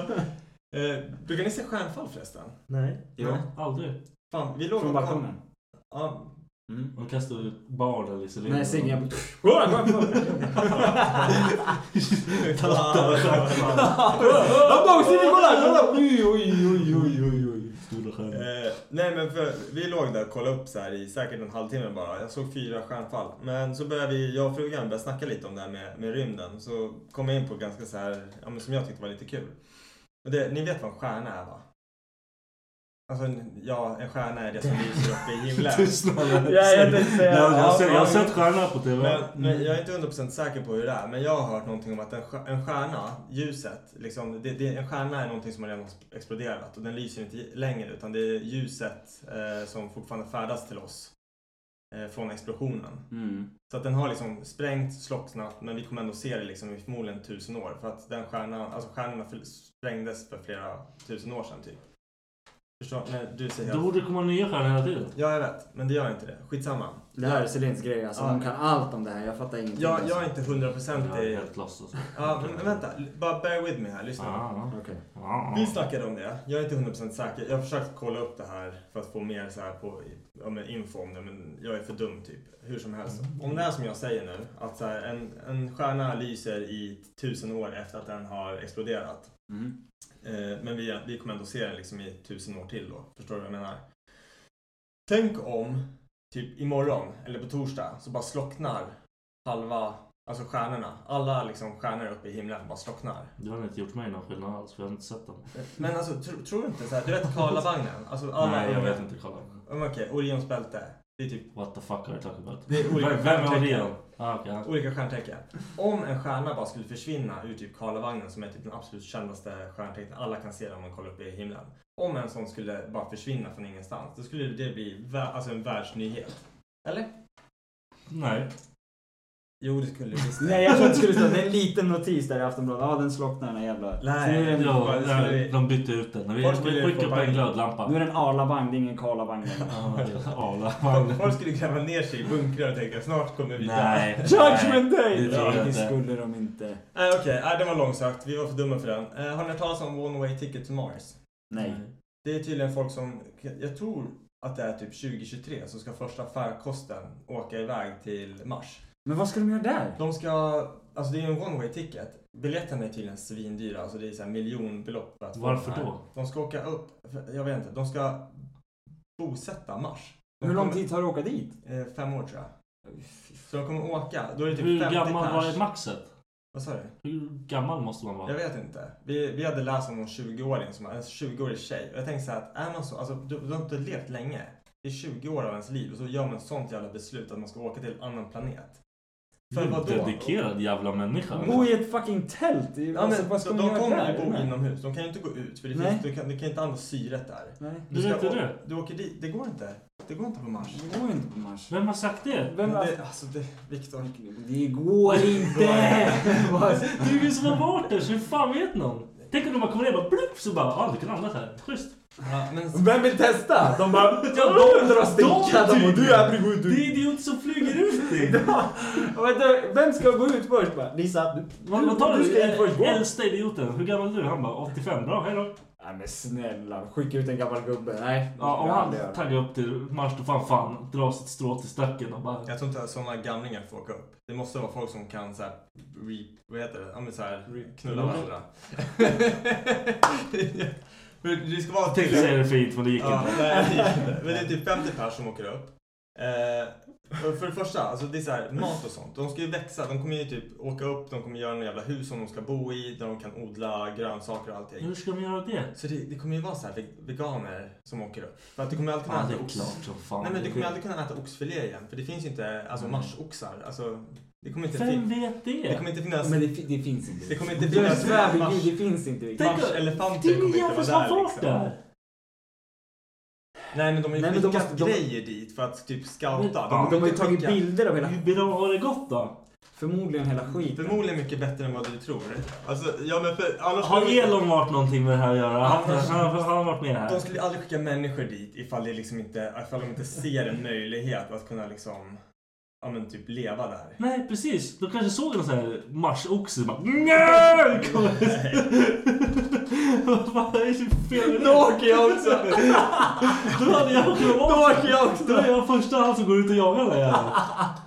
Speaker 3: eh, brukar ni se stjärnfall förresten?
Speaker 6: Nej.
Speaker 5: Jo.
Speaker 6: Aldrig.
Speaker 3: Fan, vi låg
Speaker 5: Från
Speaker 3: och-
Speaker 5: balkongen.
Speaker 3: Ja,
Speaker 5: *laughs* Mm.
Speaker 6: De kastar ut barn eller cylindrar.
Speaker 5: Nej, Sigge
Speaker 6: *laughs*
Speaker 5: jag bara... Kolla, kolla, kolla! Sigge, kolla, kolla! Oj, oj, oj, oj, oj, oj.
Speaker 6: Stora stjärnor.
Speaker 3: Eh, nej men för, vi låg där och kollade upp så här i säkert en halvtimme bara. Jag såg fyra stjärnfall. Men så började vi, jag och frugan började snacka lite om det här med, med rymden. Så kom jag in på ganska så här, ja, men som jag tyckte var lite kul. Och det, ni vet vad en stjärna är va? Alltså en- ja, en stjärna är det som lyser uppe
Speaker 6: *laughs*
Speaker 3: i himlen.
Speaker 6: Tystnad.
Speaker 5: Ja, jag tänkte säga-
Speaker 6: Nej, men Jag har sett- jag har
Speaker 3: ja,
Speaker 6: sett stjärnor på TV.
Speaker 3: Men, men jag är inte 100% säker på hur det är, men jag har hört någonting om att en stjär- en stjärna, ljuset, liksom, det, det, en stjärna är någonting som har redan exploderat och den lyser inte i- längre utan det är ljuset eh, som fortfarande färdas till oss eh, från explosionen.
Speaker 5: Mm.
Speaker 3: Så att den har liksom sprängt, slocknat, men vi kommer ändå se det liksom i förmodligen tusen år för att den stjärnan, alltså stjärnorna för- sprängdes för flera tusen år sedan typ. Förstår? Nej, du säger
Speaker 6: Då
Speaker 3: helt...
Speaker 6: borde det komma nya stjärnor hela tiden.
Speaker 3: Ja, jag vet, men det gör inte det. Skitsamma.
Speaker 5: Det här är Celins grej, alltså.
Speaker 3: Ja.
Speaker 5: De kan allt om det här. Jag fattar ingenting.
Speaker 3: Jag, jag
Speaker 5: alltså.
Speaker 3: är inte 100%
Speaker 6: Jag är
Speaker 3: i...
Speaker 6: helt lost alltså.
Speaker 3: Ja, men men vänta. L- Bara bear with me här. Lyssna.
Speaker 6: Ah,
Speaker 5: Okej.
Speaker 6: ah.
Speaker 3: Vi snackade om det. Jag är inte 100% säker. Jag har försökt kolla upp det här för att få mer så här på ja, men info om det, men jag är för dum typ. Hur som helst. Om det är som jag säger nu, att så här, en, en stjärna lyser i tusen år efter att den har exploderat.
Speaker 5: Mm.
Speaker 3: Eh, men vi, vi kommer ändå se den liksom i tusen år till då. Förstår du vad jag menar? Tänk om typ imorgon eller på torsdag så bara slocknar halva, alltså stjärnorna. Alla liksom stjärnor uppe i himlen bara slocknar.
Speaker 6: Det har inte gjort mig någon skillnad alls för jag har inte sett dem.
Speaker 3: Men alltså tro, tror du inte så här, du vet Karlavagnen? Alltså alla
Speaker 6: Nej, jag
Speaker 3: unga-
Speaker 6: vet inte. Kolla.
Speaker 3: Ja, men Okej, Orions bälte. Det är typ
Speaker 6: What the fuck are you talking about?
Speaker 3: Det är olika
Speaker 6: Vem, vem är
Speaker 3: stjärntecken.
Speaker 6: Orion? Ah, okej.
Speaker 3: olika stjärntecken. Om en stjärna bara skulle försvinna ur typ Karlavagnen som är typ den absolut kändaste stjärntecknet, alla kan se den om man kollar upp i himlen. Om en sån skulle bara försvinna från ingenstans, då skulle det bli vä- alltså en världsnyhet. Eller?
Speaker 6: Nej.
Speaker 3: Jo, det skulle det visst.
Speaker 5: Nej, jag trodde det skulle stå. Det är en liten notis där i Aftonbladet. Ja, den slocknar den här jävla...
Speaker 3: Nej,
Speaker 5: Så nu är det en-
Speaker 6: Ja,
Speaker 3: ja. vad skulle
Speaker 6: nej,
Speaker 3: vi-
Speaker 6: de bytte ut den. Vi
Speaker 3: Var skulle
Speaker 6: vi
Speaker 3: vi
Speaker 6: skickade
Speaker 3: få
Speaker 6: upp en
Speaker 3: vagn?
Speaker 5: Nu
Speaker 6: glödlampa.
Speaker 5: är det en Arla-vagn, det är ingen Karla-vagn längre.
Speaker 6: Ah, det är Arla
Speaker 3: Folk skulle gräva ner sig i bunkrar och tänka snart kommer vi dö.
Speaker 6: Nej.
Speaker 5: Judgment day!
Speaker 6: Det tror jag
Speaker 5: det
Speaker 6: inte.
Speaker 5: skulle de inte.
Speaker 3: Nej, okej. Nej, det var långsökt. Vi var för dumma för den. Eh, har ni hört talas om One Way Ticket to Mars?
Speaker 5: Nej.
Speaker 3: Det är tydligen folk som, jag tror att det är typ 2023, som ska första färdkosten åka iväg till Mars.
Speaker 5: Men vad ska de göra där?
Speaker 3: De ska, alltså det är ju en one way ticket. Biljetterna är tydligen svindyra, alltså det är så här miljonbelopp. för Att få
Speaker 6: Varför
Speaker 3: den här.
Speaker 6: då?
Speaker 3: De ska åka upp, för- jag vet inte, de ska bosätta Mars. De
Speaker 5: Hur lång
Speaker 3: kommer-
Speaker 5: tid tar det att åka dit?
Speaker 3: Eh, fem år tror jag. Så de kommer åka. Då är det typ
Speaker 6: Hur
Speaker 3: 50
Speaker 6: gammal
Speaker 3: pers.
Speaker 6: var maxet?
Speaker 3: Vad sa du?
Speaker 6: Hur gammal måste man vara?
Speaker 3: Jag vet inte. Vi, vi hade läst om någon 20-åring som en 20-årig tjej. Och jag tänkte så här att är man så, alltså du, du har inte levt länge. Det är 20 år av ens liv och så gör man ett sånt jävla beslut att man ska åka till en annan planet. För
Speaker 6: Du är en
Speaker 3: vadå?
Speaker 6: Dedikerad jävla människa.
Speaker 5: Bo i ett fucking tält! i-
Speaker 3: Ja, men,
Speaker 5: alltså, vad ska
Speaker 3: de
Speaker 5: man
Speaker 3: de
Speaker 5: göra
Speaker 3: kommer
Speaker 5: där?
Speaker 3: ju bo inomhus, de kan ju inte gå ut för det
Speaker 5: Nej.
Speaker 3: finns, du, kan, du kan inte andas syret där.
Speaker 5: Nej,
Speaker 6: Du vet inte det?
Speaker 3: Du åker dit, det går inte. Det går inte på Mars.
Speaker 5: det går ju inte på Mars.
Speaker 6: Vem har sagt det?
Speaker 5: Vem,
Speaker 3: Men
Speaker 5: alltså,
Speaker 3: det, alltså det, Viktor.
Speaker 5: det går inte! Vad-
Speaker 6: Det är ingen som har varit där så hur fan vet någon? Tänk om de bara kommer ner och bara blupp så bara ah du kan andas här. Schysst.
Speaker 3: Ja, men
Speaker 5: *laughs* Vem vill testa? De bara, ja, de drar stinkan och du är aprikot.
Speaker 6: Det är idioter som flyger ut
Speaker 5: *laughs*
Speaker 6: dig.
Speaker 5: Vänta, Vem ska gå ut först? Bara, Lisa, du,
Speaker 6: Man, man tar
Speaker 5: du ska in först.
Speaker 6: den
Speaker 5: Gå.
Speaker 6: äldsta idioten. Hur gammal är du? Han bara 85. Bra, hejdå.
Speaker 5: Nej men snälla, skicka ut en gammal gubbe. Nej.
Speaker 6: Ja, om
Speaker 5: det
Speaker 6: han
Speaker 5: aldrig göra.
Speaker 6: taggar upp till Mars då får han fan dra sitt strå till stacken och bara...
Speaker 3: jag tror inte att sådana gamlingar får åka upp. Det måste vara folk som kan så här, re, vad heter det? Ja men så här, knulla varandra. *laughs* Men det ska vara typ-
Speaker 6: Tänkte säga det fint men det gick
Speaker 3: Ja,
Speaker 6: inte.
Speaker 3: nej, det gick inte. Men det är typ 50 pers som åker upp. Eh, och för det första, alltså det är så här, mat och sånt. De ska ju växa. De kommer ju typ åka upp, de kommer göra några jävla hus som de ska bo i, där de kan odla grönsaker och allting.
Speaker 6: Hur ska de göra det?
Speaker 3: Så det, det kommer ju vara så här ve- veganer som åker upp. För att du kommer alltid
Speaker 6: Ja,
Speaker 3: kunna
Speaker 6: det
Speaker 3: äta
Speaker 6: är
Speaker 3: ox.
Speaker 6: klart som fan.
Speaker 3: Nej men du kommer aldrig kunna äta oxfilé igen. För det finns ju inte, alltså
Speaker 6: Mm.
Speaker 3: marsoxar. Alltså, det kommer inte,
Speaker 6: Vem
Speaker 3: fin-
Speaker 6: vet
Speaker 3: det
Speaker 6: det?
Speaker 3: kommer inte finnas...
Speaker 5: Men det, fi- det finns inte.
Speaker 3: Det kommer inte
Speaker 5: jag
Speaker 3: finnas
Speaker 5: svär vid
Speaker 3: mars,
Speaker 5: gud, det finns inte.
Speaker 6: Tänk om- Det
Speaker 3: marselefanter
Speaker 6: är
Speaker 3: kommer
Speaker 6: ingen
Speaker 3: inte
Speaker 6: jävel
Speaker 3: vara
Speaker 6: som har
Speaker 3: där
Speaker 6: varit
Speaker 3: liksom.
Speaker 6: där.
Speaker 3: Nej men de har ju
Speaker 5: Nej, men de
Speaker 3: skickat
Speaker 5: måste- de-
Speaker 3: grejer dit för att typ
Speaker 6: Men-
Speaker 3: scouta.
Speaker 6: Ja,
Speaker 5: De, de har ju tagit
Speaker 3: skicka-
Speaker 5: bilder av hela...
Speaker 6: Hur bra har det gått då?
Speaker 5: Förmodligen hela skiten.
Speaker 3: Förmodligen mycket bättre än vad du tror. Alltså, ja men för annars...
Speaker 6: Har Elon varit någonting med det här att göra?
Speaker 3: Ja,
Speaker 6: Han,
Speaker 3: men-
Speaker 6: han, han har varit med
Speaker 3: De
Speaker 6: här.
Speaker 3: skulle aldrig skicka människor dit ifall, det liksom inte, ifall de inte ser en möjlighet att kunna liksom, ja men typ leva där.
Speaker 6: *laughs*
Speaker 3: *laughs*
Speaker 6: Nej precis, de kanske såg någon sån här marsoxe och bara "Mm, NEJ! Kommer- *laughs* Vad fan är det för fel med det?
Speaker 5: Då åker jag också!
Speaker 6: Då hade jag kunnat
Speaker 5: Då
Speaker 6: vara
Speaker 5: åker jag också!
Speaker 6: Då är jag första han som går ut och jagar den där jäveln.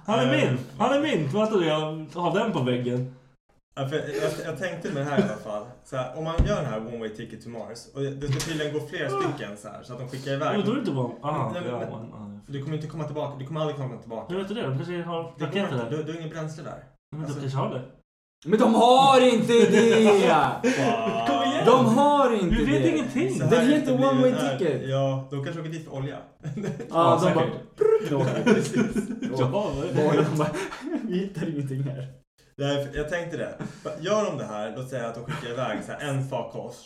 Speaker 6: Han är min! Han är min! Vänta du, jag har den på väggen.
Speaker 3: Ja, för jag, jag tänkte med det här i alla fall. Så här, om man gör den här One Way Ticket to Mars och det ska tydligen gå fler stycken så här så att de skickar
Speaker 6: Ja,
Speaker 3: iväg.
Speaker 6: Men då är det inte bara... Aha,
Speaker 3: Nej, men-
Speaker 6: ja,
Speaker 3: men-
Speaker 6: man- ja.
Speaker 3: För du kommer inte komma tillbaka, du kommer aldrig komma tillbaka.
Speaker 6: Jag vet inte det, de kanske har
Speaker 3: Det går
Speaker 6: raketer
Speaker 3: inte,
Speaker 6: där.
Speaker 3: du, du har inget bränsle där.
Speaker 6: Men de
Speaker 3: alltså-
Speaker 6: kanske har det.
Speaker 5: Men de har inte det!
Speaker 6: Kom igen!
Speaker 5: De har inte
Speaker 6: Vi
Speaker 5: det!
Speaker 6: vet ingenting!
Speaker 3: Så
Speaker 5: Det
Speaker 3: här
Speaker 5: heter
Speaker 3: kanske blir
Speaker 5: one way
Speaker 3: den här-
Speaker 5: ticket.
Speaker 3: Ja, de kanske åker dit för olja.
Speaker 5: Ja, de
Speaker 6: säkert.
Speaker 5: bara... prr, då åker vi.
Speaker 6: Ja, vad är det?
Speaker 5: Bara, de bara, Vi hittar ingenting här.
Speaker 3: Nej, för jag tänkte det. Gör de det här, låt säga att de skickar iväg så här, en farkost.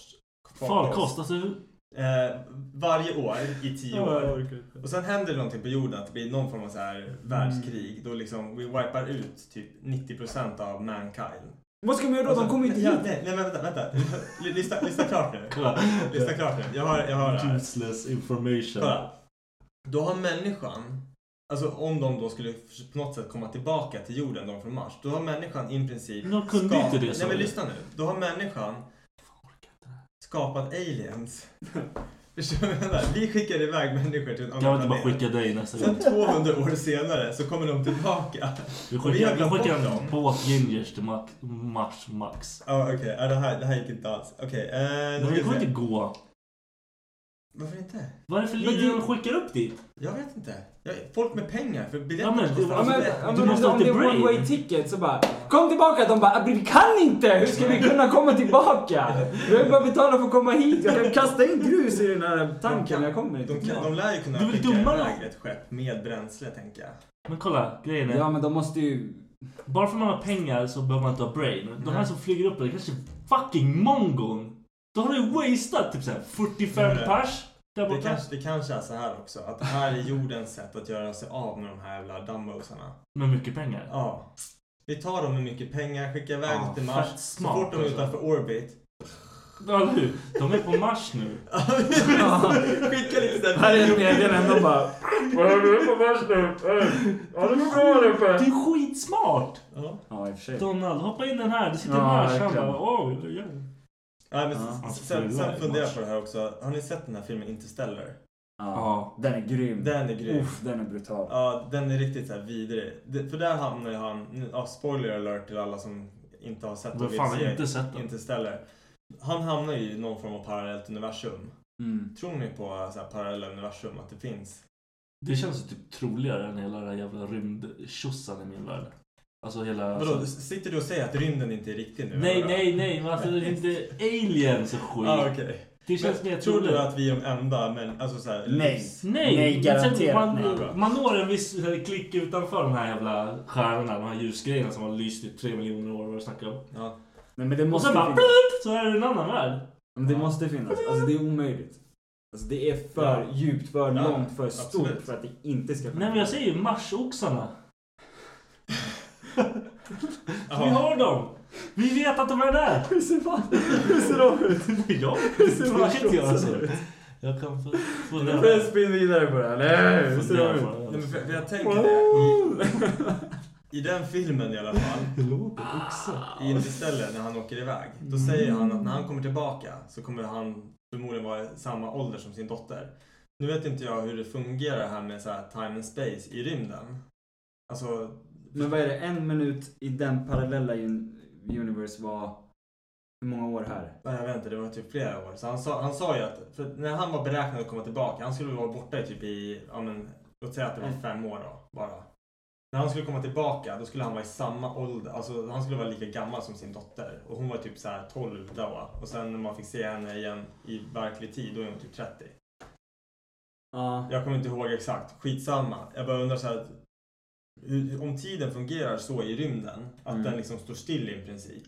Speaker 6: Farkost, alltså... hur-
Speaker 3: Eh, varje år i tio år. Och sen händer det någonting på jorden, att det blir någon form av så här världskrig. Då liksom, vi wipar ut typ 90% av mankind.
Speaker 5: Vad ska man göra då? De kommer ju inte
Speaker 3: Ja,
Speaker 5: hit.
Speaker 3: Nej, nej, men vänta, vänta. L- Lyssna, lyssna klart nu.
Speaker 6: Kolla.
Speaker 3: Lyssna klart nu. Jag har, jag har det här.
Speaker 6: Useless information.
Speaker 3: Kolla. Då har människan, alltså om de då skulle på något sätt komma tillbaka till jorden, de från Mars, då har människan i princip
Speaker 6: Men de kunde
Speaker 3: skapat-
Speaker 6: inte Mm. det, sa
Speaker 3: Nej men
Speaker 6: du.
Speaker 3: lyssna nu. Då har människan skapat aliens. *laughs* Förstår du vad jag menar? Vi skickar iväg människor till en
Speaker 6: Kan vi inte
Speaker 3: annan
Speaker 6: bara
Speaker 3: planet.
Speaker 6: skicka dig nästa gång?
Speaker 3: Sen 200 år senare så kommer de tillbaka.
Speaker 6: Vi
Speaker 3: Och vi har
Speaker 6: skickar, vi
Speaker 3: glömt
Speaker 6: skickar
Speaker 3: bort
Speaker 6: en
Speaker 3: dem.
Speaker 6: båt gingers till Max, Max. Max.
Speaker 3: Ja okej, ja, det, här, det här gick inte alls. Okej, eh, nu
Speaker 6: Men
Speaker 3: ska
Speaker 6: det
Speaker 3: vi
Speaker 6: kommer
Speaker 3: se.
Speaker 6: inte gå.
Speaker 3: Varför inte?
Speaker 6: Vad är det för
Speaker 5: Men
Speaker 6: liv
Speaker 5: det-
Speaker 6: de skickar upp dit?
Speaker 3: Jag vet inte. Jag, folk med pengar för biljetter
Speaker 6: Ja, men-
Speaker 3: kostar alltså
Speaker 6: ja,
Speaker 5: Ja, men,
Speaker 3: det-
Speaker 5: ja,
Speaker 6: Du
Speaker 5: men
Speaker 6: måste ha
Speaker 5: om det
Speaker 6: lite
Speaker 5: är one
Speaker 6: brain.
Speaker 5: way ticket så bara Kom tillbaka! De bara "Abri, vi kan inte! Hur ska vi kunna komma tillbaka? Vi har ju bara betalat för att komma hit. Jag kan kasta in grus i den här tanken när jag kommer
Speaker 3: De, kan, de
Speaker 5: hit.
Speaker 3: lär ju kunna
Speaker 6: Du är väl
Speaker 3: skicka
Speaker 6: dummare?
Speaker 3: iväg ett skepp med bränsle tänker jag.
Speaker 6: Men kolla, grejen är.
Speaker 5: Ja men de måste ju...
Speaker 6: Bara för att man har pengar så behöver man inte ha brain. De här
Speaker 3: Nej.
Speaker 6: som flyger upp, det är kanske fucking mongon. Då har du wasted typ såhär 45
Speaker 3: Nej.
Speaker 6: pers där
Speaker 3: Det
Speaker 6: borta.
Speaker 3: kanske, det kanske är så här också, att det här är jordens sätt att göra sig av med de här jävla dumbosarna.
Speaker 6: Med mycket pengar.
Speaker 3: Ja. Vi tar dem med mycket pengar, skickar iväg
Speaker 6: Ja,
Speaker 3: dem till Mars.
Speaker 6: fett
Speaker 3: Så
Speaker 6: smart,
Speaker 3: fort de är
Speaker 6: alltså. *laughs*
Speaker 3: utanför orbit.
Speaker 6: Ja, eller hur? De är på Mars nu.
Speaker 3: Skicka lite sådär.
Speaker 5: Här är meddelanden de bara...
Speaker 3: Mm.
Speaker 6: Det är skitsmart!
Speaker 3: Ja.
Speaker 5: Ja i och för sig.
Speaker 6: Donald, hoppa in den här. Det sitter
Speaker 5: Ja,
Speaker 6: en Mars. Han
Speaker 5: verkligen.
Speaker 6: bara, åh, ja.
Speaker 3: Nej, men
Speaker 5: Ja.
Speaker 3: s- sen,
Speaker 6: Alltså,
Speaker 3: sen funderar jag
Speaker 6: Mars.
Speaker 3: på det här också. Har ni sett den här filmen Interstellar?
Speaker 6: Ja.
Speaker 5: Den är grym.
Speaker 3: Den är grym.
Speaker 5: Uff, den är brutal.
Speaker 3: Ja, den är riktigt så här vidrig. Det- För där hamnar ju han, nu- ja, spoiler alert till alla som inte har sett
Speaker 6: Vem
Speaker 3: vill
Speaker 6: fan har
Speaker 3: se
Speaker 6: inte sett den?
Speaker 3: Interstellar. Han hamnar ju i någon form av parallellt universum.
Speaker 5: Mm.
Speaker 3: Tror ni på så här, parallella universum, att det finns?
Speaker 6: Det känns typ troligare än hela den här jävla rymdtjosan i min värld. Alltså hela...
Speaker 3: Vadå,
Speaker 6: alltså,
Speaker 3: sitter du och säger att rymden inte är riktig nu?
Speaker 6: nej,
Speaker 3: eller?
Speaker 6: nej, nej. Men alltså det är inte aliens och skit.
Speaker 3: Ah, okej.
Speaker 6: Det känns
Speaker 3: Men
Speaker 6: mer
Speaker 3: Tror
Speaker 6: troligt.
Speaker 3: du att vi är de enda men, alltså så här,
Speaker 5: Nej.
Speaker 3: livs-
Speaker 6: Nej,
Speaker 5: Nej,
Speaker 6: men
Speaker 5: garanterat
Speaker 6: sen
Speaker 5: nej,
Speaker 6: man,
Speaker 5: bra.
Speaker 6: man når en viss eh, klick utanför de här jävla stjärnorna, de här ljusgrejerna som har lyst i tre miljoner år. Vad du snackar om.
Speaker 3: Ja.
Speaker 5: Nej, men det
Speaker 6: Och
Speaker 5: måste
Speaker 6: sen bara
Speaker 5: finnas.
Speaker 6: plupp, så är det en annan värld.
Speaker 5: Men det måste finnas. Alltså det är omöjligt. Alltså det är för
Speaker 3: Ja.
Speaker 5: djupt, för
Speaker 3: Ja,
Speaker 5: långt, för stort
Speaker 3: absolut.
Speaker 5: för att det inte ska
Speaker 6: Nej men jag säger ju Marsoxarna. Vi
Speaker 3: Jaha.
Speaker 6: har dem! Vi vet att de är där!
Speaker 5: *laughs* Hur ser fan... Hur ser de ut?
Speaker 6: Jag
Speaker 5: Hur ser
Speaker 6: det vet inte jag
Speaker 5: varselåsarna
Speaker 6: alltså.
Speaker 5: ut?
Speaker 6: Jag kan få... få
Speaker 5: Nu
Speaker 6: reda-
Speaker 5: får jag spinna vidare på det här, eller hur? Hur ser de
Speaker 6: fundera
Speaker 5: ut?
Speaker 6: på det.
Speaker 3: Nej, men för, för jag tänker det. I, I den filmen i alla fall,
Speaker 6: Det låter också.
Speaker 3: i Interstellar, när han åker iväg. Då säger han att när han kommer tillbaka så kommer han förmodligen vara i samma ålder som sin dotter. Nu vet inte jag hur det fungerar här med så här time and space i rymden. Alltså,
Speaker 5: *laughs* Men vad är det? En minut i den parallella un- universe var... Hur många år här?
Speaker 3: nej, jag vet inte, det var typ flera år. Så han sa, han sa ju att för när han var beräknad att komma tillbaka, han skulle vara borta i typ i, ja men, låt säga att det var fem år då, bara. När han skulle komma tillbaka, då skulle han vara i samma ålder, alltså han skulle vara lika gammal som sin dotter. Och hon var typ så här 12 då. Och sen när man fick se henne igen i verklig tid, då är hon typ 30.
Speaker 5: Ja.
Speaker 3: Jag kommer inte ihåg exakt, skitsamma. Jag bara undrar så här, hur- om tiden fungerar så i rymden, att
Speaker 5: Mm.
Speaker 3: den liksom står still i princip.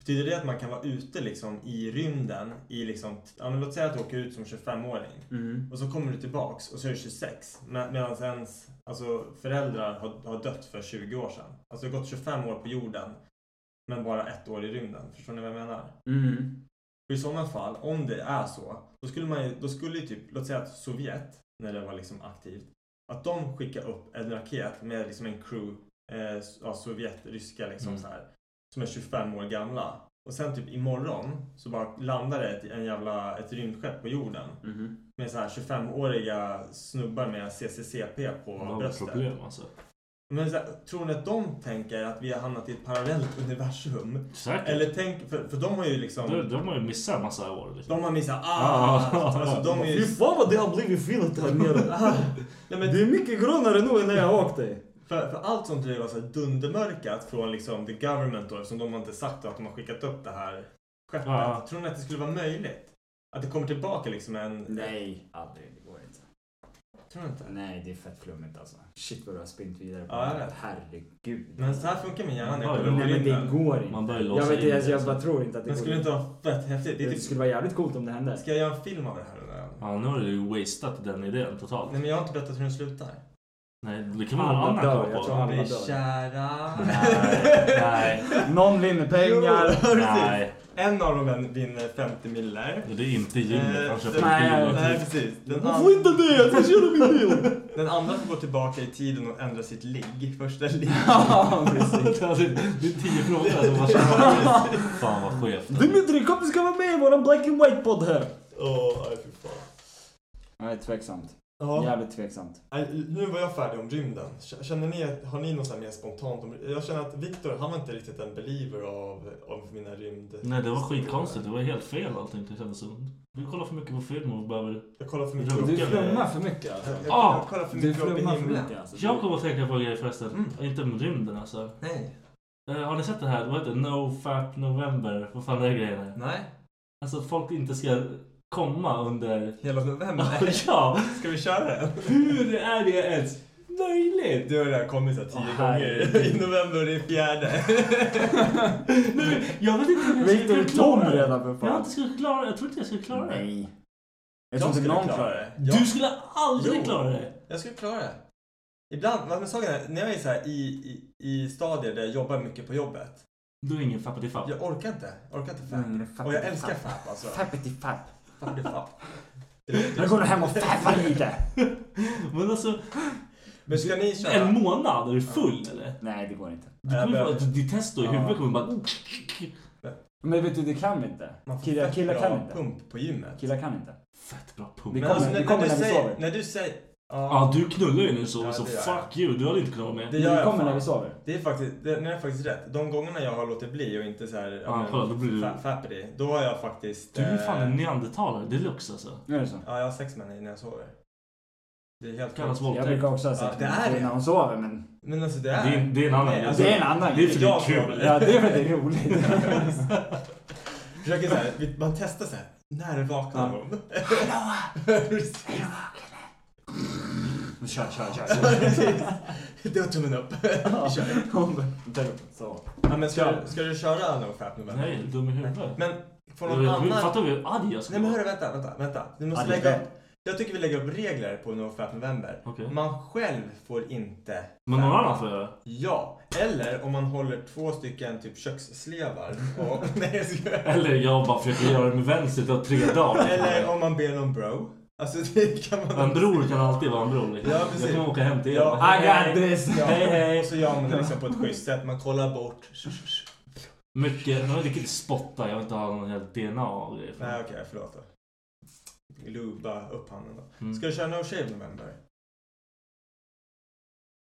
Speaker 3: Betyder det att man kan vara ute liksom i rymden i liksom, ja, men låt säga att du åker ut som 25-åring
Speaker 5: Mhm.
Speaker 3: och så kommer du tillbaks och så är du 26 med, medan ens alltså, föräldrar har, har dött för 20 år sedan. Alltså det har gått 25 år på jorden men bara ett år i rymden. Förstår ni vad jag menar?
Speaker 5: Mm.
Speaker 3: För I sådana fall, om det är så, då skulle man ju, då skulle ju typ, låt säga att Sovjet, när det var liksom aktivt, att de skickar upp en raket med liksom en crew, eh, ja, Sovjet, ryska liksom
Speaker 5: Mm.
Speaker 3: så här, som är 25 år gamla. Och sen typ imorgon så bara landar det ett, en jävla, ett rymdskepp på jorden
Speaker 6: Mm.
Speaker 5: Mhm.
Speaker 3: med så här 25-åriga snubbar med CCCP på
Speaker 6: De har
Speaker 3: bröstet.
Speaker 6: problem alltså.
Speaker 3: Men så här, tror ni att de tänker att vi har hamnat i ett parallellt universum?
Speaker 6: Säkert.
Speaker 3: Eller tänk, för, för de har ju liksom...
Speaker 6: De, de har ju missat en massa år liksom.
Speaker 3: De har missat
Speaker 6: Ah.
Speaker 3: allt! Alltså, de är ju...
Speaker 5: Fy fan vad det har blivit fint
Speaker 3: *laughs*
Speaker 5: här nere.
Speaker 3: Nej,
Speaker 5: Det
Speaker 3: men
Speaker 5: är mycket grönare nu än när jag åkte.
Speaker 3: för, för allt sånt där var så här dundermörkat från liksom the government då, eftersom de har inte sagt att de har skickat upp det här skeppet.
Speaker 6: Ja.
Speaker 3: Tror ni att det skulle vara möjligt? Att det kommer tillbaka liksom en...
Speaker 5: Nej, aldrig. Det går inte.
Speaker 3: Tror ni inte?
Speaker 5: Nej, det är fett flummigt alltså. Shit vad du har spint vidare på
Speaker 3: Ja, jag
Speaker 5: det här.
Speaker 3: vet.
Speaker 5: Herregud.
Speaker 3: Men så här funkar min hjärna när jag
Speaker 6: Ja,
Speaker 3: kollar
Speaker 5: Nej
Speaker 3: på
Speaker 5: men det
Speaker 3: rymden.
Speaker 5: går inte.
Speaker 6: Man börjar låsa
Speaker 5: Jag vet
Speaker 6: in
Speaker 5: inte, alltså, jag
Speaker 6: det.
Speaker 5: bara tror inte att det
Speaker 3: Men skulle det
Speaker 5: går.
Speaker 3: inte vara fett häftigt? Det är
Speaker 5: Det
Speaker 3: typ...
Speaker 5: skulle vara jävligt coolt om det *laughs* hände.
Speaker 3: Ska jag göra en film av det här eller?
Speaker 6: Ja, nu har du ju wasteat den idén totalt.
Speaker 3: Nej men jag har inte berättat hur den slutar.
Speaker 6: Nej, det kan man ha
Speaker 5: Alla
Speaker 6: en annan
Speaker 5: dör,
Speaker 6: koll
Speaker 5: jag
Speaker 6: på.
Speaker 5: tror alla
Speaker 3: Vi är
Speaker 5: dör.
Speaker 3: kära.
Speaker 6: Nej, nej,
Speaker 5: Någon vinner pengar. *laughs*
Speaker 3: Jo, precis.
Speaker 6: nej.
Speaker 3: En av dem vän- vinner 50 miller.
Speaker 6: Det är inte Junet, han
Speaker 3: Eh,
Speaker 6: köper
Speaker 5: nej,
Speaker 6: en bil.
Speaker 3: Nej precis. Den,
Speaker 5: Hon
Speaker 3: an-
Speaker 5: får inte det! Jag ska köra min bil!
Speaker 3: den andra får gå tillbaka i tiden och ändra sitt ligg. Första ligg.
Speaker 5: *laughs* Ja, precis.
Speaker 6: Alltså, Det är tio frågor som man
Speaker 5: *laughs*
Speaker 6: känner. Fan vad skevt.
Speaker 5: Dimitri, kom du ska vara med i våran Black and White-podd här!
Speaker 3: Åh, nej fy fan.
Speaker 5: Nej, tveksamt.
Speaker 3: Ja,
Speaker 5: Jävligt tveksamt.
Speaker 3: nej, nu var jag färdig om rymden. K- Känner ni, att- har ni något så här mer spontant om Jag känner att Viktor, han var inte riktigt en believer av, av mina rymd...
Speaker 6: Nej det var skitkonstigt, det var helt fel allting det kändes som. Du kollar för mycket på film och behöver...
Speaker 3: Jag kollar för mycket
Speaker 6: Du
Speaker 3: upp-
Speaker 5: Du
Speaker 6: Okej.
Speaker 5: flummar för mycket alltså.
Speaker 3: Jag, jag,
Speaker 6: Ah,
Speaker 3: jag kollar för
Speaker 5: Du
Speaker 3: mycket upp i
Speaker 5: flummar för
Speaker 3: himlen.
Speaker 5: mycket alltså.
Speaker 6: Jag kommer att tänka på en grej förresten,
Speaker 3: Mm.
Speaker 6: inte om rymden alltså.
Speaker 3: Nej.
Speaker 6: Eh, har ni sett det här, vad heter det? No Fat November? Vad fan är det grejen är?
Speaker 3: Nej.
Speaker 6: Alltså att folk inte ska komma
Speaker 3: *laughs*
Speaker 6: under... *laughs*
Speaker 3: Hela november.
Speaker 6: ja!
Speaker 3: Ska vi köra den?
Speaker 6: Hur är det ens möjligt?
Speaker 3: Du har redan kommit så här tio
Speaker 6: Åh,
Speaker 3: gånger
Speaker 6: herregud.
Speaker 3: i november och det är fjärde.
Speaker 6: Nu, jag vet inte hur jag
Speaker 5: Viktor
Speaker 6: skulle
Speaker 5: är
Speaker 6: klara
Speaker 5: tom
Speaker 6: det.
Speaker 5: redan för
Speaker 6: Jag har
Speaker 5: fan.
Speaker 6: inte skulle klara Jag tror inte jag skulle klara det.
Speaker 5: Nej. Jag tror inte
Speaker 3: skulle
Speaker 5: någon klarar det.
Speaker 3: Jag,
Speaker 6: Du skulle aldrig
Speaker 3: Jo.
Speaker 6: klara det.
Speaker 3: jag skulle klara det. Ibland, men saken är, när jag är så här i, i, i stadier där jag jobbar mycket på jobbet.
Speaker 6: Du är ingen fappatifapp.
Speaker 3: Jag orkar inte. Jag orkar inte
Speaker 5: Mm,
Speaker 3: fap.
Speaker 5: fappity
Speaker 3: och jag älskar
Speaker 5: fapp.
Speaker 3: fap alltså.
Speaker 5: Fappity fapp.
Speaker 3: Fappity fapp.
Speaker 5: *laughs* Nu går du hem och fappar lite.
Speaker 6: Men alltså,
Speaker 3: Men ska ni köra?
Speaker 6: en månad? Är du full eller?
Speaker 5: Nej, det går inte.
Speaker 6: Du
Speaker 3: Jag
Speaker 6: kommer få,
Speaker 3: behöver-
Speaker 6: ditt testo i
Speaker 3: Ja.
Speaker 6: huvudet kommer bara...
Speaker 5: Men vet du, det kan vi inte.
Speaker 3: Man får
Speaker 5: Killar,
Speaker 3: fett
Speaker 5: killar
Speaker 3: bra
Speaker 5: kan inte.
Speaker 3: pump på gymmet.
Speaker 5: Killar kan inte.
Speaker 6: Fett bra
Speaker 5: Det
Speaker 6: pump.
Speaker 3: Men alltså,
Speaker 5: kommer-
Speaker 3: när,
Speaker 5: det kommer
Speaker 3: när, du
Speaker 5: när vi
Speaker 3: säger,
Speaker 5: sover.
Speaker 3: när du säger...
Speaker 6: Ja,
Speaker 3: Ja,
Speaker 6: du knullar ju nu så,
Speaker 3: Ja,
Speaker 6: så
Speaker 3: det gör jag.
Speaker 6: fuck you. Du hade inte kunnat vara med.
Speaker 3: Det
Speaker 5: Det
Speaker 3: gör jag
Speaker 5: kommer
Speaker 3: fan.
Speaker 5: när vi sover.
Speaker 3: Det är faktiskt, det, ni har faktiskt rätt. De gångerna jag har låtit bli och inte så här...
Speaker 6: Ja, kolla, då blir du-
Speaker 3: fa- fappity, då har jag faktiskt...
Speaker 6: Du är fan
Speaker 3: eh,
Speaker 6: en neandertalare deluxe alltså.
Speaker 5: Nu är det så.
Speaker 3: Ja, jag har sex med mig när jag sover. Det är helt
Speaker 6: Kallas
Speaker 3: sjukt.
Speaker 6: våldtäkt.
Speaker 5: Jag brukar också ha sex
Speaker 3: Ja,
Speaker 5: med
Speaker 3: det är
Speaker 5: min fru
Speaker 3: det.
Speaker 5: när hon sover men
Speaker 3: Men alltså det
Speaker 6: Det är,
Speaker 3: är...
Speaker 6: det är en annan
Speaker 3: Nej,
Speaker 6: grej.
Speaker 3: alltså-
Speaker 5: det är en annan
Speaker 6: Det är
Speaker 5: grej.
Speaker 6: för
Speaker 3: Jag
Speaker 6: det är kul.
Speaker 3: sover.
Speaker 5: Ja, det är för att det är roligt.
Speaker 3: *laughs* Försöker såhär, vi- man testar såhär, när vaknar
Speaker 6: *laughs*
Speaker 3: *laughs*
Speaker 5: Ja.
Speaker 3: hon?
Speaker 5: Kör, kör,
Speaker 3: *laughs*
Speaker 5: kör.
Speaker 3: Det var tummen upp.
Speaker 5: *laughs*
Speaker 3: Vi kör.
Speaker 5: Hon bara, så.
Speaker 3: Ja, men ska, du- ska du köra No Fat November?
Speaker 6: Nej, dum i huvudet.
Speaker 3: Men får någon
Speaker 6: Jag- jag-
Speaker 3: annan...
Speaker 6: Fattar du hur arg alltså. jag
Speaker 3: Nej
Speaker 6: skulle
Speaker 3: men
Speaker 6: vara?
Speaker 3: hörru, vänta, vänta, vänta. Vi måste
Speaker 5: Ja, det är
Speaker 3: lägga
Speaker 5: det.
Speaker 3: upp. Jag tycker vi lägger upp regler på No Fat November.
Speaker 6: Okej.
Speaker 3: Man själv får inte...
Speaker 6: Men någon annan får göra det.
Speaker 3: Ja, eller om man håller två stycken typ köksslevar och... *laughs* Nej, jag skojar.
Speaker 6: Eller jag bara försöker göra det med vänster i tre dagar.
Speaker 3: Eller om man ber någon bro. Alltså *laughs* det kan man...
Speaker 6: En bror kan alltid vara en bror. Liksom.
Speaker 3: Ja, precis.
Speaker 6: Jag kommer åka hem till er.
Speaker 3: Ja.
Speaker 6: Hej,
Speaker 5: I
Speaker 6: hej.
Speaker 5: got this!
Speaker 3: Ja,
Speaker 6: Hej, hej.
Speaker 3: Och så gör man det liksom på ett schysst sätt. Man kollar bort.
Speaker 6: Mycket, jag tycker inte spotta, jag vill inte ha någon helt DNA och grejer.
Speaker 3: Nej okej, förlåt då. Luba upp handen då.
Speaker 6: Mm.
Speaker 3: Ska du köra No Shave November?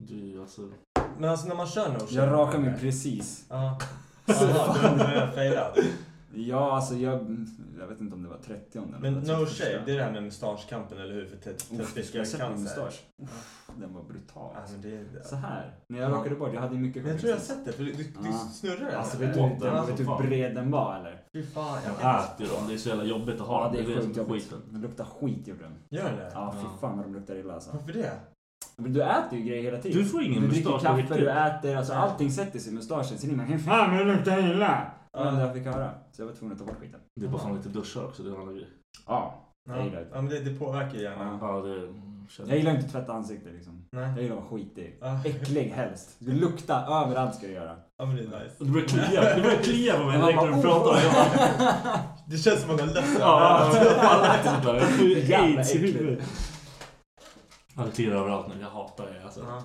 Speaker 6: Du, alltså.
Speaker 3: Men alltså när man kör No Shave
Speaker 5: Jag rakar mig
Speaker 3: November-
Speaker 5: precis.
Speaker 3: Ja. Jaha, då har jag failat.
Speaker 5: Ja, alltså jag... Jag vet inte om det var 30 eller
Speaker 3: Men
Speaker 5: om det var
Speaker 3: no
Speaker 5: 31.
Speaker 3: shave, det är det här med mustaschkampen eller hur? För te-
Speaker 5: Uff, jag sätter min
Speaker 3: testikelcancer.
Speaker 5: mustasch. Uff, Den var brutal.
Speaker 3: Alltså, det är-
Speaker 5: Så här. När jag rakade bort, jag hade ju mycket
Speaker 3: Men jag tror jag har
Speaker 5: skägg.
Speaker 3: sett det, för du, du du
Speaker 5: Ja.
Speaker 3: snurrar den.
Speaker 5: Alltså
Speaker 3: eller?
Speaker 5: vet du, vet
Speaker 6: Ja,
Speaker 5: du, vet du
Speaker 6: fan.
Speaker 5: hur bred den var eller?
Speaker 3: Fy fan, jag
Speaker 6: Jag
Speaker 3: kan
Speaker 6: äter dem, det är så jävla jobbigt att ha
Speaker 5: Ja,
Speaker 6: dem.
Speaker 5: det är
Speaker 6: som
Speaker 5: sjukt
Speaker 6: är
Speaker 5: jobbigt.
Speaker 6: skiten.
Speaker 5: Den luktar skit gjorde den.
Speaker 3: Gör den det?
Speaker 5: Ja,
Speaker 6: Ja.
Speaker 5: fy fan vad de luktar illa alltså.
Speaker 3: Varför det?
Speaker 5: Men du äter ju grejer hela tiden.
Speaker 6: Du får ingen
Speaker 5: du dricker
Speaker 6: mustasch på
Speaker 5: kaffe,
Speaker 6: riktigt.
Speaker 5: du äter, alltså allting sätter sig i mustaschen. Sen är man fan vad det luktar illa! Det var det enda jag fick höra. Så jag var tvungen att ta bort skiten.
Speaker 6: Det är bara fan lite duschar också, det är en annan grej.
Speaker 5: Ja. Jag
Speaker 3: Ja,
Speaker 5: gillar det.
Speaker 3: ja men det, det påverkar ju hjärnan.
Speaker 5: Ja.
Speaker 6: Ja, det känner
Speaker 5: Jag gillar inte att tvätta ansiktet liksom. Jag
Speaker 3: Nej.
Speaker 5: gillar att vara skitig.
Speaker 3: Ja.
Speaker 5: Äcklig helst. Du luktar överallt ska du göra.
Speaker 3: Ja men det är nice.
Speaker 6: Och Det börjar klia, det börjar klia på mig direkt när du
Speaker 5: Man bara, "Oh!"
Speaker 6: pratar. Jag bara,
Speaker 3: Det känns som att man har löst det.
Speaker 6: ja, *laughs* jag pallar inte sånt där. Jag får
Speaker 5: Jävla
Speaker 6: aids i
Speaker 5: äckligt.
Speaker 6: huvudet. Ja, det kliar överallt nu. Jag hatar det alltså.
Speaker 3: Ja.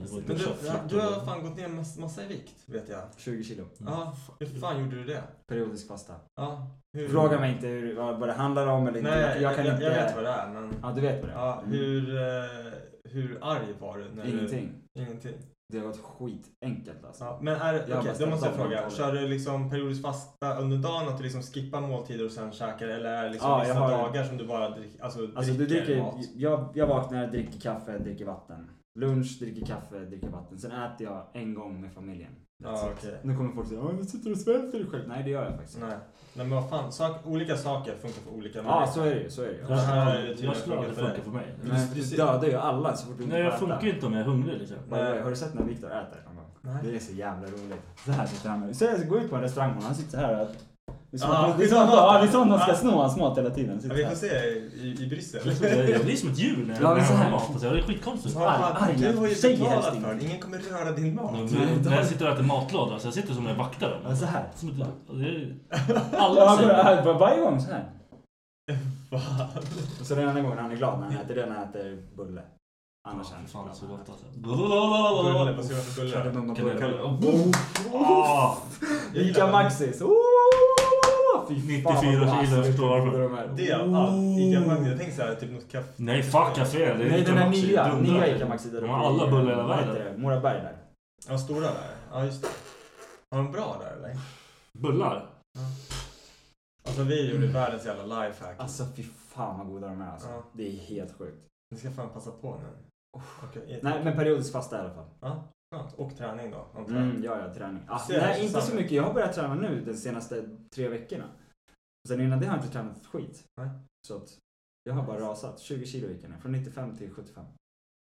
Speaker 6: Jag går inte
Speaker 3: Men
Speaker 6: och
Speaker 3: du,
Speaker 6: köper
Speaker 3: du har fan gått ner massa, massa i vikt, vet jag.
Speaker 5: 20 kilo.
Speaker 3: Ja, hur fan gjorde du det?
Speaker 5: Periodisk fasta.
Speaker 3: Ja. Hur?
Speaker 5: Fråga mig inte hur, vad, vad det handlar om eller inte.
Speaker 3: Nej,
Speaker 5: jag, jag kan
Speaker 3: jag,
Speaker 5: inte...
Speaker 3: jag vet vad det är men...
Speaker 5: Ja, du vet vad det är.
Speaker 3: Ja,
Speaker 5: Mm.
Speaker 3: hur, eh, hur arg var du? När
Speaker 5: Ingenting.
Speaker 3: Du, ingenting.
Speaker 5: Det har varit skitenkelt alltså.
Speaker 3: Ja, men är,
Speaker 5: Jag
Speaker 3: okej,
Speaker 5: bara
Speaker 3: då måste jag
Speaker 5: ställer
Speaker 3: fråga.
Speaker 5: av
Speaker 3: Kör du liksom periodiskt fasta under dagen? Att du liksom skippar måltider och sen käkar? Eller är det liksom
Speaker 5: Ja, jag
Speaker 3: vissa
Speaker 5: har-
Speaker 3: dagar som du bara drick, alltså,
Speaker 5: Alltså du
Speaker 3: dricker,
Speaker 5: dricker,
Speaker 3: mat?
Speaker 5: jag, jag vaknar, dricker kaffe, dricker vatten. Lunch, dricker kaffe, dricker vatten. Sen äter jag en gång med familjen.
Speaker 3: Ja,
Speaker 5: That's it.
Speaker 3: Ah, okej.
Speaker 5: Nu kommer folk säga "Ja, du sitter och svälter dig själv. Nej det gör jag faktiskt inte.
Speaker 3: Nej. Nej, men vad fan. Sak, olika saker funkar för olika
Speaker 5: Ja
Speaker 3: människor.
Speaker 5: så är det ju, så är det ju.
Speaker 6: Jag,
Speaker 3: här är
Speaker 6: jag,
Speaker 3: det
Speaker 6: jag,
Speaker 3: tydligen
Speaker 6: skulle aldrig
Speaker 3: funkar för
Speaker 6: funka för mig.
Speaker 5: Nej, för
Speaker 3: precis.
Speaker 5: du dödar ju alla så fort du inte
Speaker 6: Nej,
Speaker 5: får
Speaker 6: jag
Speaker 5: äta.
Speaker 6: funkar ju inte om jag är hungrig liksom.
Speaker 5: By the way, Har du sett när Viktor äter? Han bara,
Speaker 3: Nej.
Speaker 5: Det är så jävla roligt. Så här sitter han. Så jag går ut på en restaurang och han sitter så här. och- Det är som
Speaker 3: Ja,
Speaker 5: att- det
Speaker 3: det
Speaker 5: är
Speaker 3: är
Speaker 5: som att-
Speaker 3: så han-
Speaker 5: ja, det är som att någon ska
Speaker 3: Ja.
Speaker 5: sno hans mat hela tiden.
Speaker 3: Ja,
Speaker 5: Sitter
Speaker 3: vi får
Speaker 5: här.
Speaker 3: se i, i Bryssel.
Speaker 6: Jag jag blir som ett djur när jag
Speaker 5: Ja,
Speaker 6: när
Speaker 5: men
Speaker 6: jag
Speaker 5: så här.
Speaker 6: har mat. Alltså, det är skitkonstigt.
Speaker 3: Ja, fan,
Speaker 5: Arga
Speaker 3: du har ju
Speaker 5: tjejer helst
Speaker 3: betalat för
Speaker 5: inte.
Speaker 3: den. Ingen kommer röra din mat.
Speaker 6: Men När jag sitter och äter matlådor, så jag sitter som när jag vaktar
Speaker 5: Ja,
Speaker 6: dem.
Speaker 5: så här.
Speaker 6: Som ett lapp. Och det är-
Speaker 5: Alltså. Ja,
Speaker 6: Alla
Speaker 5: han går-
Speaker 6: säger
Speaker 5: han går äh, varje gång så här.
Speaker 3: Fan.
Speaker 5: Och så den enda gången han är glad när han äter det är när han äter bulle. Annars är han
Speaker 6: Fan,
Speaker 5: inte
Speaker 6: fan så
Speaker 5: glad.
Speaker 6: gott alltså.
Speaker 3: Bulle, vad ska jag för bulle?
Speaker 6: Kan jag
Speaker 5: Kardemummabulle.
Speaker 6: kalla oh, ah,
Speaker 3: Jag
Speaker 5: Ica
Speaker 3: gillar-
Speaker 5: Maxis. Oh! Fy fan, vad
Speaker 6: 94
Speaker 5: bra.
Speaker 6: kilo, jag förstår varför.
Speaker 5: De här. Oh!
Speaker 3: Det är allt. Ica Maxi. Jag tänker såhär, typ något kaffe.
Speaker 6: Nej, fuck café. Det är
Speaker 5: Nej,
Speaker 6: Ica
Speaker 5: den här
Speaker 6: Maxi,
Speaker 5: nya.
Speaker 6: dundrar.
Speaker 5: Nya Ica Maxi. där
Speaker 6: De har
Speaker 5: uppe i-
Speaker 6: alla bullar i hela
Speaker 5: vad heter
Speaker 6: världen.
Speaker 5: det? Moraberg där.
Speaker 3: Ja, stora där. Ja, just det. Har de bra där eller?
Speaker 6: Bullar?
Speaker 3: Alltså vi gjorde världens jävla lifehack.
Speaker 5: Mm. Alltså fy fan vad goda de är alltså.
Speaker 3: Ja.
Speaker 5: Det är helt sjukt.
Speaker 3: Ni ska fan passa på nu. Okej, i-
Speaker 5: Nej men periodiskt fasta i alla fall.
Speaker 3: skönt. Och träning då, antar jag.
Speaker 5: Mm, ja, ja, träning. Ah,
Speaker 3: Ser jag
Speaker 5: nej, inte så
Speaker 3: samma.
Speaker 5: mycket. Jag har börjat träna nu de senaste tre veckorna. Sen innan det har jag inte tränat ett skit.
Speaker 3: Nej.
Speaker 5: Så att jag har bara rasat. 20 kilo gick jag ner. Från 95 till 75.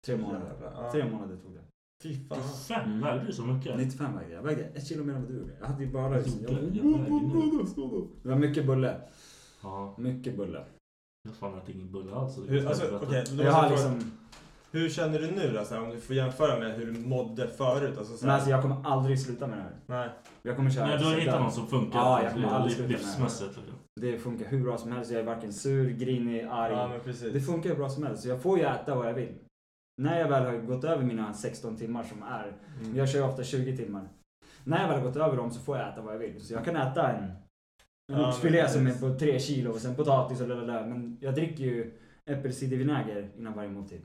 Speaker 5: Tre månader.
Speaker 3: Jävlar, ja.
Speaker 5: Tre månader tog det.
Speaker 3: Fy fan.
Speaker 6: Fem
Speaker 5: Mm.
Speaker 6: vägde du så mycket?
Speaker 5: 95 vägde jag. Jag vägde ett kilo mer än vad du gjorde. Jag hade ju bara...
Speaker 6: Jag
Speaker 5: Liksom, jag...
Speaker 6: gjorde- jag vägde
Speaker 5: Det var mycket bulle.
Speaker 6: Ja,
Speaker 5: Mycket bulle.
Speaker 6: jag har fan ätit ingen bulle alls. så det
Speaker 3: Hur,
Speaker 6: kan jag
Speaker 3: alltså,
Speaker 6: inte
Speaker 3: okej,
Speaker 6: berätta.
Speaker 3: då måste
Speaker 5: Jag har
Speaker 3: jag
Speaker 5: liksom...
Speaker 3: fråga, hur känner du nu då? Så här, om du får jämföra med hur du mådde förut? Alltså, så
Speaker 5: Men
Speaker 3: här,
Speaker 5: alltså jag kommer aldrig sluta med det här.
Speaker 3: Nej.
Speaker 5: Jag kommer köra
Speaker 6: Nej, du har
Speaker 5: tills jag
Speaker 6: hittat
Speaker 5: dör.
Speaker 6: någon som funkar
Speaker 5: Ja, jag
Speaker 6: alltså,
Speaker 5: kommer aldrig sluta med det.
Speaker 6: livsmässigt. liksom.
Speaker 5: Det funkar hur bra som helst. Jag är varken sur, grinig, arg.
Speaker 3: Ja, men precis.
Speaker 5: Det funkar hur bra som helst. Så jag får ju äta vad jag vill. När jag väl har gått över mina 16 timmar som är.
Speaker 3: Mm.
Speaker 5: Jag kör ju ofta 20 timmar. När jag väl har gått över dem så får jag äta vad jag vill. Så jag kan äta en
Speaker 3: Ja,
Speaker 5: en oxfilé
Speaker 3: men
Speaker 5: som är
Speaker 3: precis.
Speaker 5: på 3 kilo och sen potatis och lalala. Men jag dricker ju äppelcidervinäger innan varje måltid.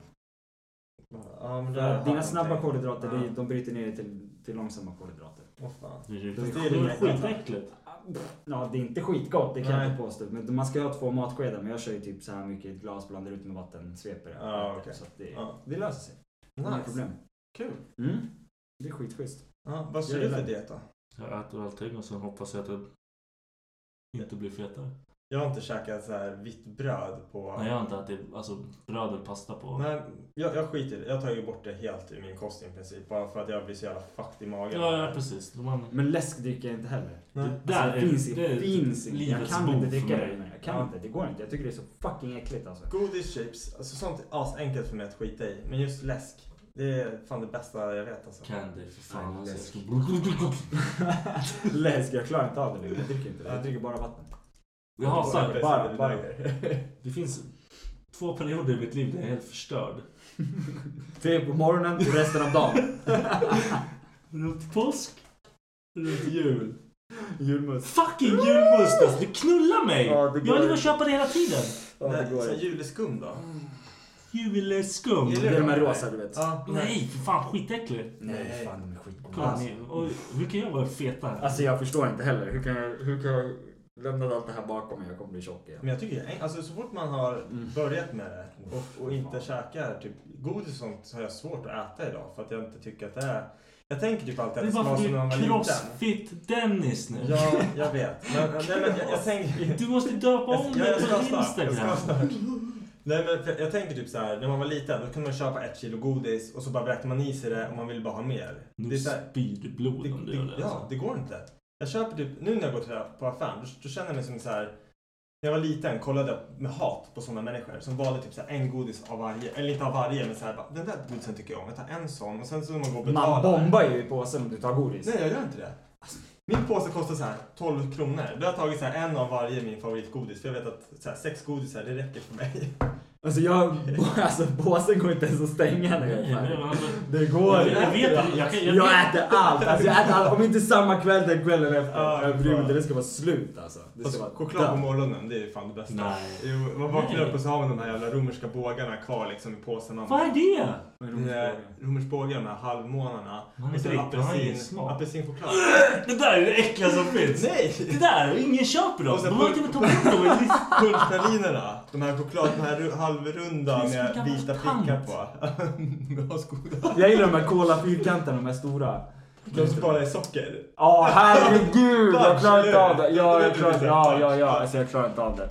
Speaker 3: Ja, men det
Speaker 5: För
Speaker 3: här
Speaker 5: att dina
Speaker 3: har
Speaker 5: snabba
Speaker 3: någonting.
Speaker 5: kolhydrater,
Speaker 3: Ja.
Speaker 5: det- de bryter ner det till, till långsamma kolhydrater.
Speaker 3: Åh, fan.
Speaker 6: Det är ju
Speaker 5: Det är
Speaker 6: skit-
Speaker 5: skit-
Speaker 6: skitäckligt.
Speaker 5: ja, det är inte skitgott, det kan jag
Speaker 3: Nej.
Speaker 5: inte påstå. Men man ska ju ha två matskedar, men jag kör ju typ så här mycket i ett glas, blandar ut med vatten, sveper det.
Speaker 3: Ja, okej.
Speaker 5: Så att det,
Speaker 3: Ja.
Speaker 5: det löser sig. Inga problem.
Speaker 3: Kul.
Speaker 5: Mm. Det är skitschysst.
Speaker 3: Ja, vad kör
Speaker 5: Jag
Speaker 3: du
Speaker 5: gillar
Speaker 3: för
Speaker 5: det.
Speaker 3: diet då?
Speaker 6: Jag äter allting och sen hoppas jag att jag inte blir fetare.
Speaker 3: Jag har inte käkat så här vitt bröd på...
Speaker 6: Nej, jag har inte ätit alltså, bröd eller pasta på...
Speaker 3: Nej, jag, jag skiter i det. Jag har tagit bort det helt i min kost i princip. Bara för att jag blir så jävla fucked i magen.
Speaker 6: Ja, ja precis. De andra...
Speaker 5: Men läsk dricker jag inte heller.
Speaker 3: Nej.
Speaker 6: Alltså, Det där
Speaker 5: det Alltså, finns,
Speaker 6: är,
Speaker 5: inte-
Speaker 6: det är typ
Speaker 5: finns inte. Jag
Speaker 6: livets
Speaker 5: kan
Speaker 6: bov
Speaker 5: inte
Speaker 6: för
Speaker 5: dricka
Speaker 6: mig.
Speaker 5: det. längre. Jag kan
Speaker 3: Ja.
Speaker 5: inte. Det går inte. Jag tycker det är så fucking äckligt alltså.
Speaker 3: Godis, chips, alltså sånt är asenkelt för mig att skita i. Men just läsk, det är fan det bästa jag vet alltså.
Speaker 6: Candy, för fan.
Speaker 5: Nej,
Speaker 6: Alltså, jag
Speaker 5: läsk.
Speaker 6: ska...
Speaker 5: Läsk, jag klarar inte av det längre. Jag dricker inte det. Jag dricker bara vatten.
Speaker 6: Jag hatar...
Speaker 5: Bara- bara-
Speaker 6: Det finns två perioder i mitt liv där jag är helt förstörd.
Speaker 5: Tre på morgonen och resten av dagen.
Speaker 6: Runt påsk, runt jul.
Speaker 5: Julmust.
Speaker 6: Fucking julmust! Alltså, du knullar mig!
Speaker 5: Ja, det går
Speaker 6: jag vill bara
Speaker 5: inte.
Speaker 6: köpa det hela tiden.
Speaker 5: Ja, det
Speaker 3: Nej,
Speaker 5: går
Speaker 3: så
Speaker 5: inte.
Speaker 3: juleskum då?
Speaker 6: Julskum.
Speaker 5: Det är de här rosa du vet.
Speaker 3: Ja.
Speaker 6: Nej, för fan skitäckligt.
Speaker 5: Nej, fan de är skitgoda.
Speaker 6: Kolla,
Speaker 5: Alltså.
Speaker 6: ni, oj, hur kan jag vara fetare?
Speaker 5: alltså jag förstår inte heller. Hur kan jag, hur kan jag lämna allt det här bakom mig? Jag kommer bli tjock igen.
Speaker 3: Men jag tycker ju- alltså så fort man har
Speaker 5: Mm.
Speaker 3: börjat med det och, och inte
Speaker 5: Fan.
Speaker 3: käkar typ godis och sånt så har jag svårt att äta idag för att jag inte tycker att det är... Jag tänker typ alltid
Speaker 6: det
Speaker 3: att
Speaker 6: är
Speaker 3: det ska
Speaker 6: bara
Speaker 3: vara
Speaker 6: för
Speaker 3: som när man
Speaker 6: att du är
Speaker 3: var liten.
Speaker 6: crossfit-Dennis nu.
Speaker 3: Ja, jag vet. Men, nej, men jag, jag tänker... *laughs*
Speaker 6: Du måste döpa om
Speaker 3: Jag- jag
Speaker 6: dig
Speaker 3: ska
Speaker 6: på
Speaker 3: snart, jag ska
Speaker 6: Instagram.
Speaker 3: snart. Nej men för jag tänker typ så här, när man var liten då kunde man köpa ett kilo godis och så bara vräkte man i sig det och man ville bara ha mer. Det
Speaker 6: Nu
Speaker 3: är så här,
Speaker 6: spyr du blod
Speaker 3: det,
Speaker 6: om du
Speaker 3: det,
Speaker 6: gör det.
Speaker 3: ja,
Speaker 6: alltså.
Speaker 3: det går inte. Jag köper typ, nu när jag går till på affären, då, då känner jag mig som så här. När jag var liten kollade jag med hat på sådana människor som valde typ så här en godis av varje, eller inte av varje men så här, bara, den där godisen tycker jag om, jag tar en sån och sen så när man går och betalar.
Speaker 5: Man bombar ju i påsen om du tar godis.
Speaker 3: Nej jag gör inte det. Alltså, Min påse kostar så här 12 kronor. Då har jag tagit så här en av varje min favoritgodis för jag vet att så här, sex godisar det räcker för mig.
Speaker 5: Alltså jag, *laughs* alltså påsen går inte ens att stänga när jag är
Speaker 6: Nej, men
Speaker 5: färdig.
Speaker 6: alltså,
Speaker 5: Det går
Speaker 6: Jag
Speaker 5: inte.
Speaker 6: jag vet jag, jag, kan-
Speaker 5: Jag äter allt! Alltså jag äter allt. Om inte samma kväll, den kvällen
Speaker 3: Ja,
Speaker 5: efter. Jag
Speaker 3: fan.
Speaker 5: bryr mig inte. Det ska vara slut alltså. Det ska
Speaker 3: Fast
Speaker 5: vara
Speaker 3: choklad på
Speaker 5: dött.
Speaker 3: morgonen det är ju fan det bästa.
Speaker 6: Nej.
Speaker 3: Jo, man vaknar
Speaker 6: Nej.
Speaker 3: upp och så har man de här jävla romerska bågarna kvar liksom i påsen.
Speaker 6: Vad är det?
Speaker 5: Men
Speaker 3: De här Romersbågarna, de här halvmånarna.
Speaker 6: Man
Speaker 3: Och så
Speaker 6: är inte
Speaker 3: apelsin,
Speaker 6: smak.
Speaker 3: apelsinchoklad.
Speaker 6: Det där är det äckliga som finns.
Speaker 3: Nej!
Speaker 6: Det där, ingen köper dem.
Speaker 3: Och sen
Speaker 6: De har
Speaker 3: pul-
Speaker 6: till och med tagit bort dem.
Speaker 3: *laughs* Pulspralinerna. De här choklad, de här ru- halvrunda
Speaker 6: Det är som en
Speaker 3: med
Speaker 6: gammal
Speaker 3: vita
Speaker 6: tant.
Speaker 3: prickar på. *laughs* De har skoda.
Speaker 5: Jag gillar de här kola fyrkanterna, de här stora.
Speaker 3: De som bara är socker.
Speaker 5: Ja, herregud! Jag
Speaker 3: Punch,
Speaker 5: klarar inte av det.
Speaker 3: eller hur?
Speaker 5: Ja, jag
Speaker 3: Det
Speaker 5: klarar
Speaker 3: blir
Speaker 5: Ja,
Speaker 3: punch.
Speaker 5: ja, ja. Alltså jag klarar inte av det.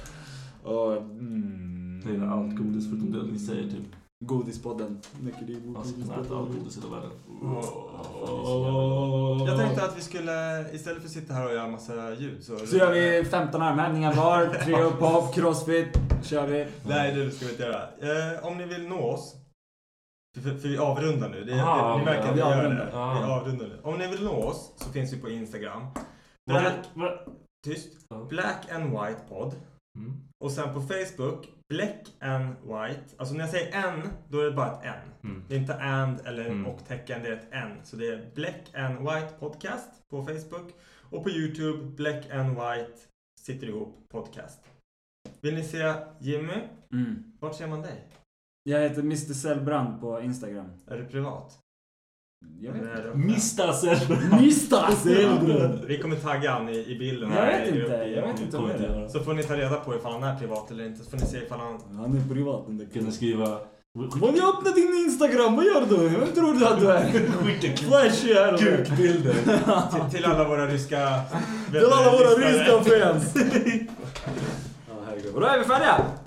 Speaker 5: Och, mm.
Speaker 6: Det är allt godis förutom det ni säger typ.
Speaker 5: Godispodden. Mycket liv och
Speaker 6: Man ska kunna äta allt godis i hela världen.
Speaker 3: Jag tänkte att vi skulle, istället för att sitta här och göra massa ljud så...
Speaker 5: Så gör vi 15 armhävningar var, tre upp hopp, crossfit. kör vi.
Speaker 3: Nej, det ska vi inte göra. Eh, om ni vill nå oss. För, för, för vi avrundar nu. Det,
Speaker 6: Ah,
Speaker 3: det, ni märker
Speaker 6: ja,
Speaker 3: att
Speaker 5: vi
Speaker 3: vi gör
Speaker 5: avrundar.
Speaker 3: det.
Speaker 6: Ah.
Speaker 3: Vi avrundar nu. Om ni vill nå oss så finns vi på Instagram. Black,
Speaker 6: Black... Va?
Speaker 3: tyst.
Speaker 6: Ja.
Speaker 3: Black and White Pod.
Speaker 6: Mm.
Speaker 3: Och sen på Facebook, Black and White. Alltså när jag säger en, då är det bara ett N.
Speaker 6: Mm.
Speaker 3: Det är inte and eller en
Speaker 6: Mm.
Speaker 3: och-tecken, det är ett N. Så det är Black and White Podcast på Facebook. Och på YouTube, Black and White sitter ihop podcast. Vill ni se Jimmy?
Speaker 5: Mm.
Speaker 3: Vart ser man dig?
Speaker 5: Jag heter Mr Sellbrand på Instagram.
Speaker 3: Är du privat?
Speaker 5: Jag vet inte.
Speaker 3: Eller är du öppen?
Speaker 6: Mr. Selberg.
Speaker 5: Mr *laughs* Sellbrand!
Speaker 3: Vi kommer tagga han i, i bilden.
Speaker 5: Jag
Speaker 3: här
Speaker 5: vet
Speaker 3: i
Speaker 5: inte,
Speaker 3: gruppen.
Speaker 5: jag vet inte om det är det.
Speaker 3: Så får ni ta reda på ifall han är privat eller inte. Så får ni se ifall
Speaker 5: *laughs*
Speaker 3: han...
Speaker 5: Han är privat den där
Speaker 6: Kan ni
Speaker 5: killen.
Speaker 6: skriva...
Speaker 5: Vad har öppnat din Instagram? Vad gör du? Vem tror du att du är?
Speaker 6: Skicka
Speaker 5: *laughs* Flashy är du.
Speaker 6: kukbilder.
Speaker 3: Till, till alla våra ryska...
Speaker 5: Till alla våra
Speaker 3: lyssnare.
Speaker 5: *laughs* ryska fans! Ja herregud. Och då är vi färdiga!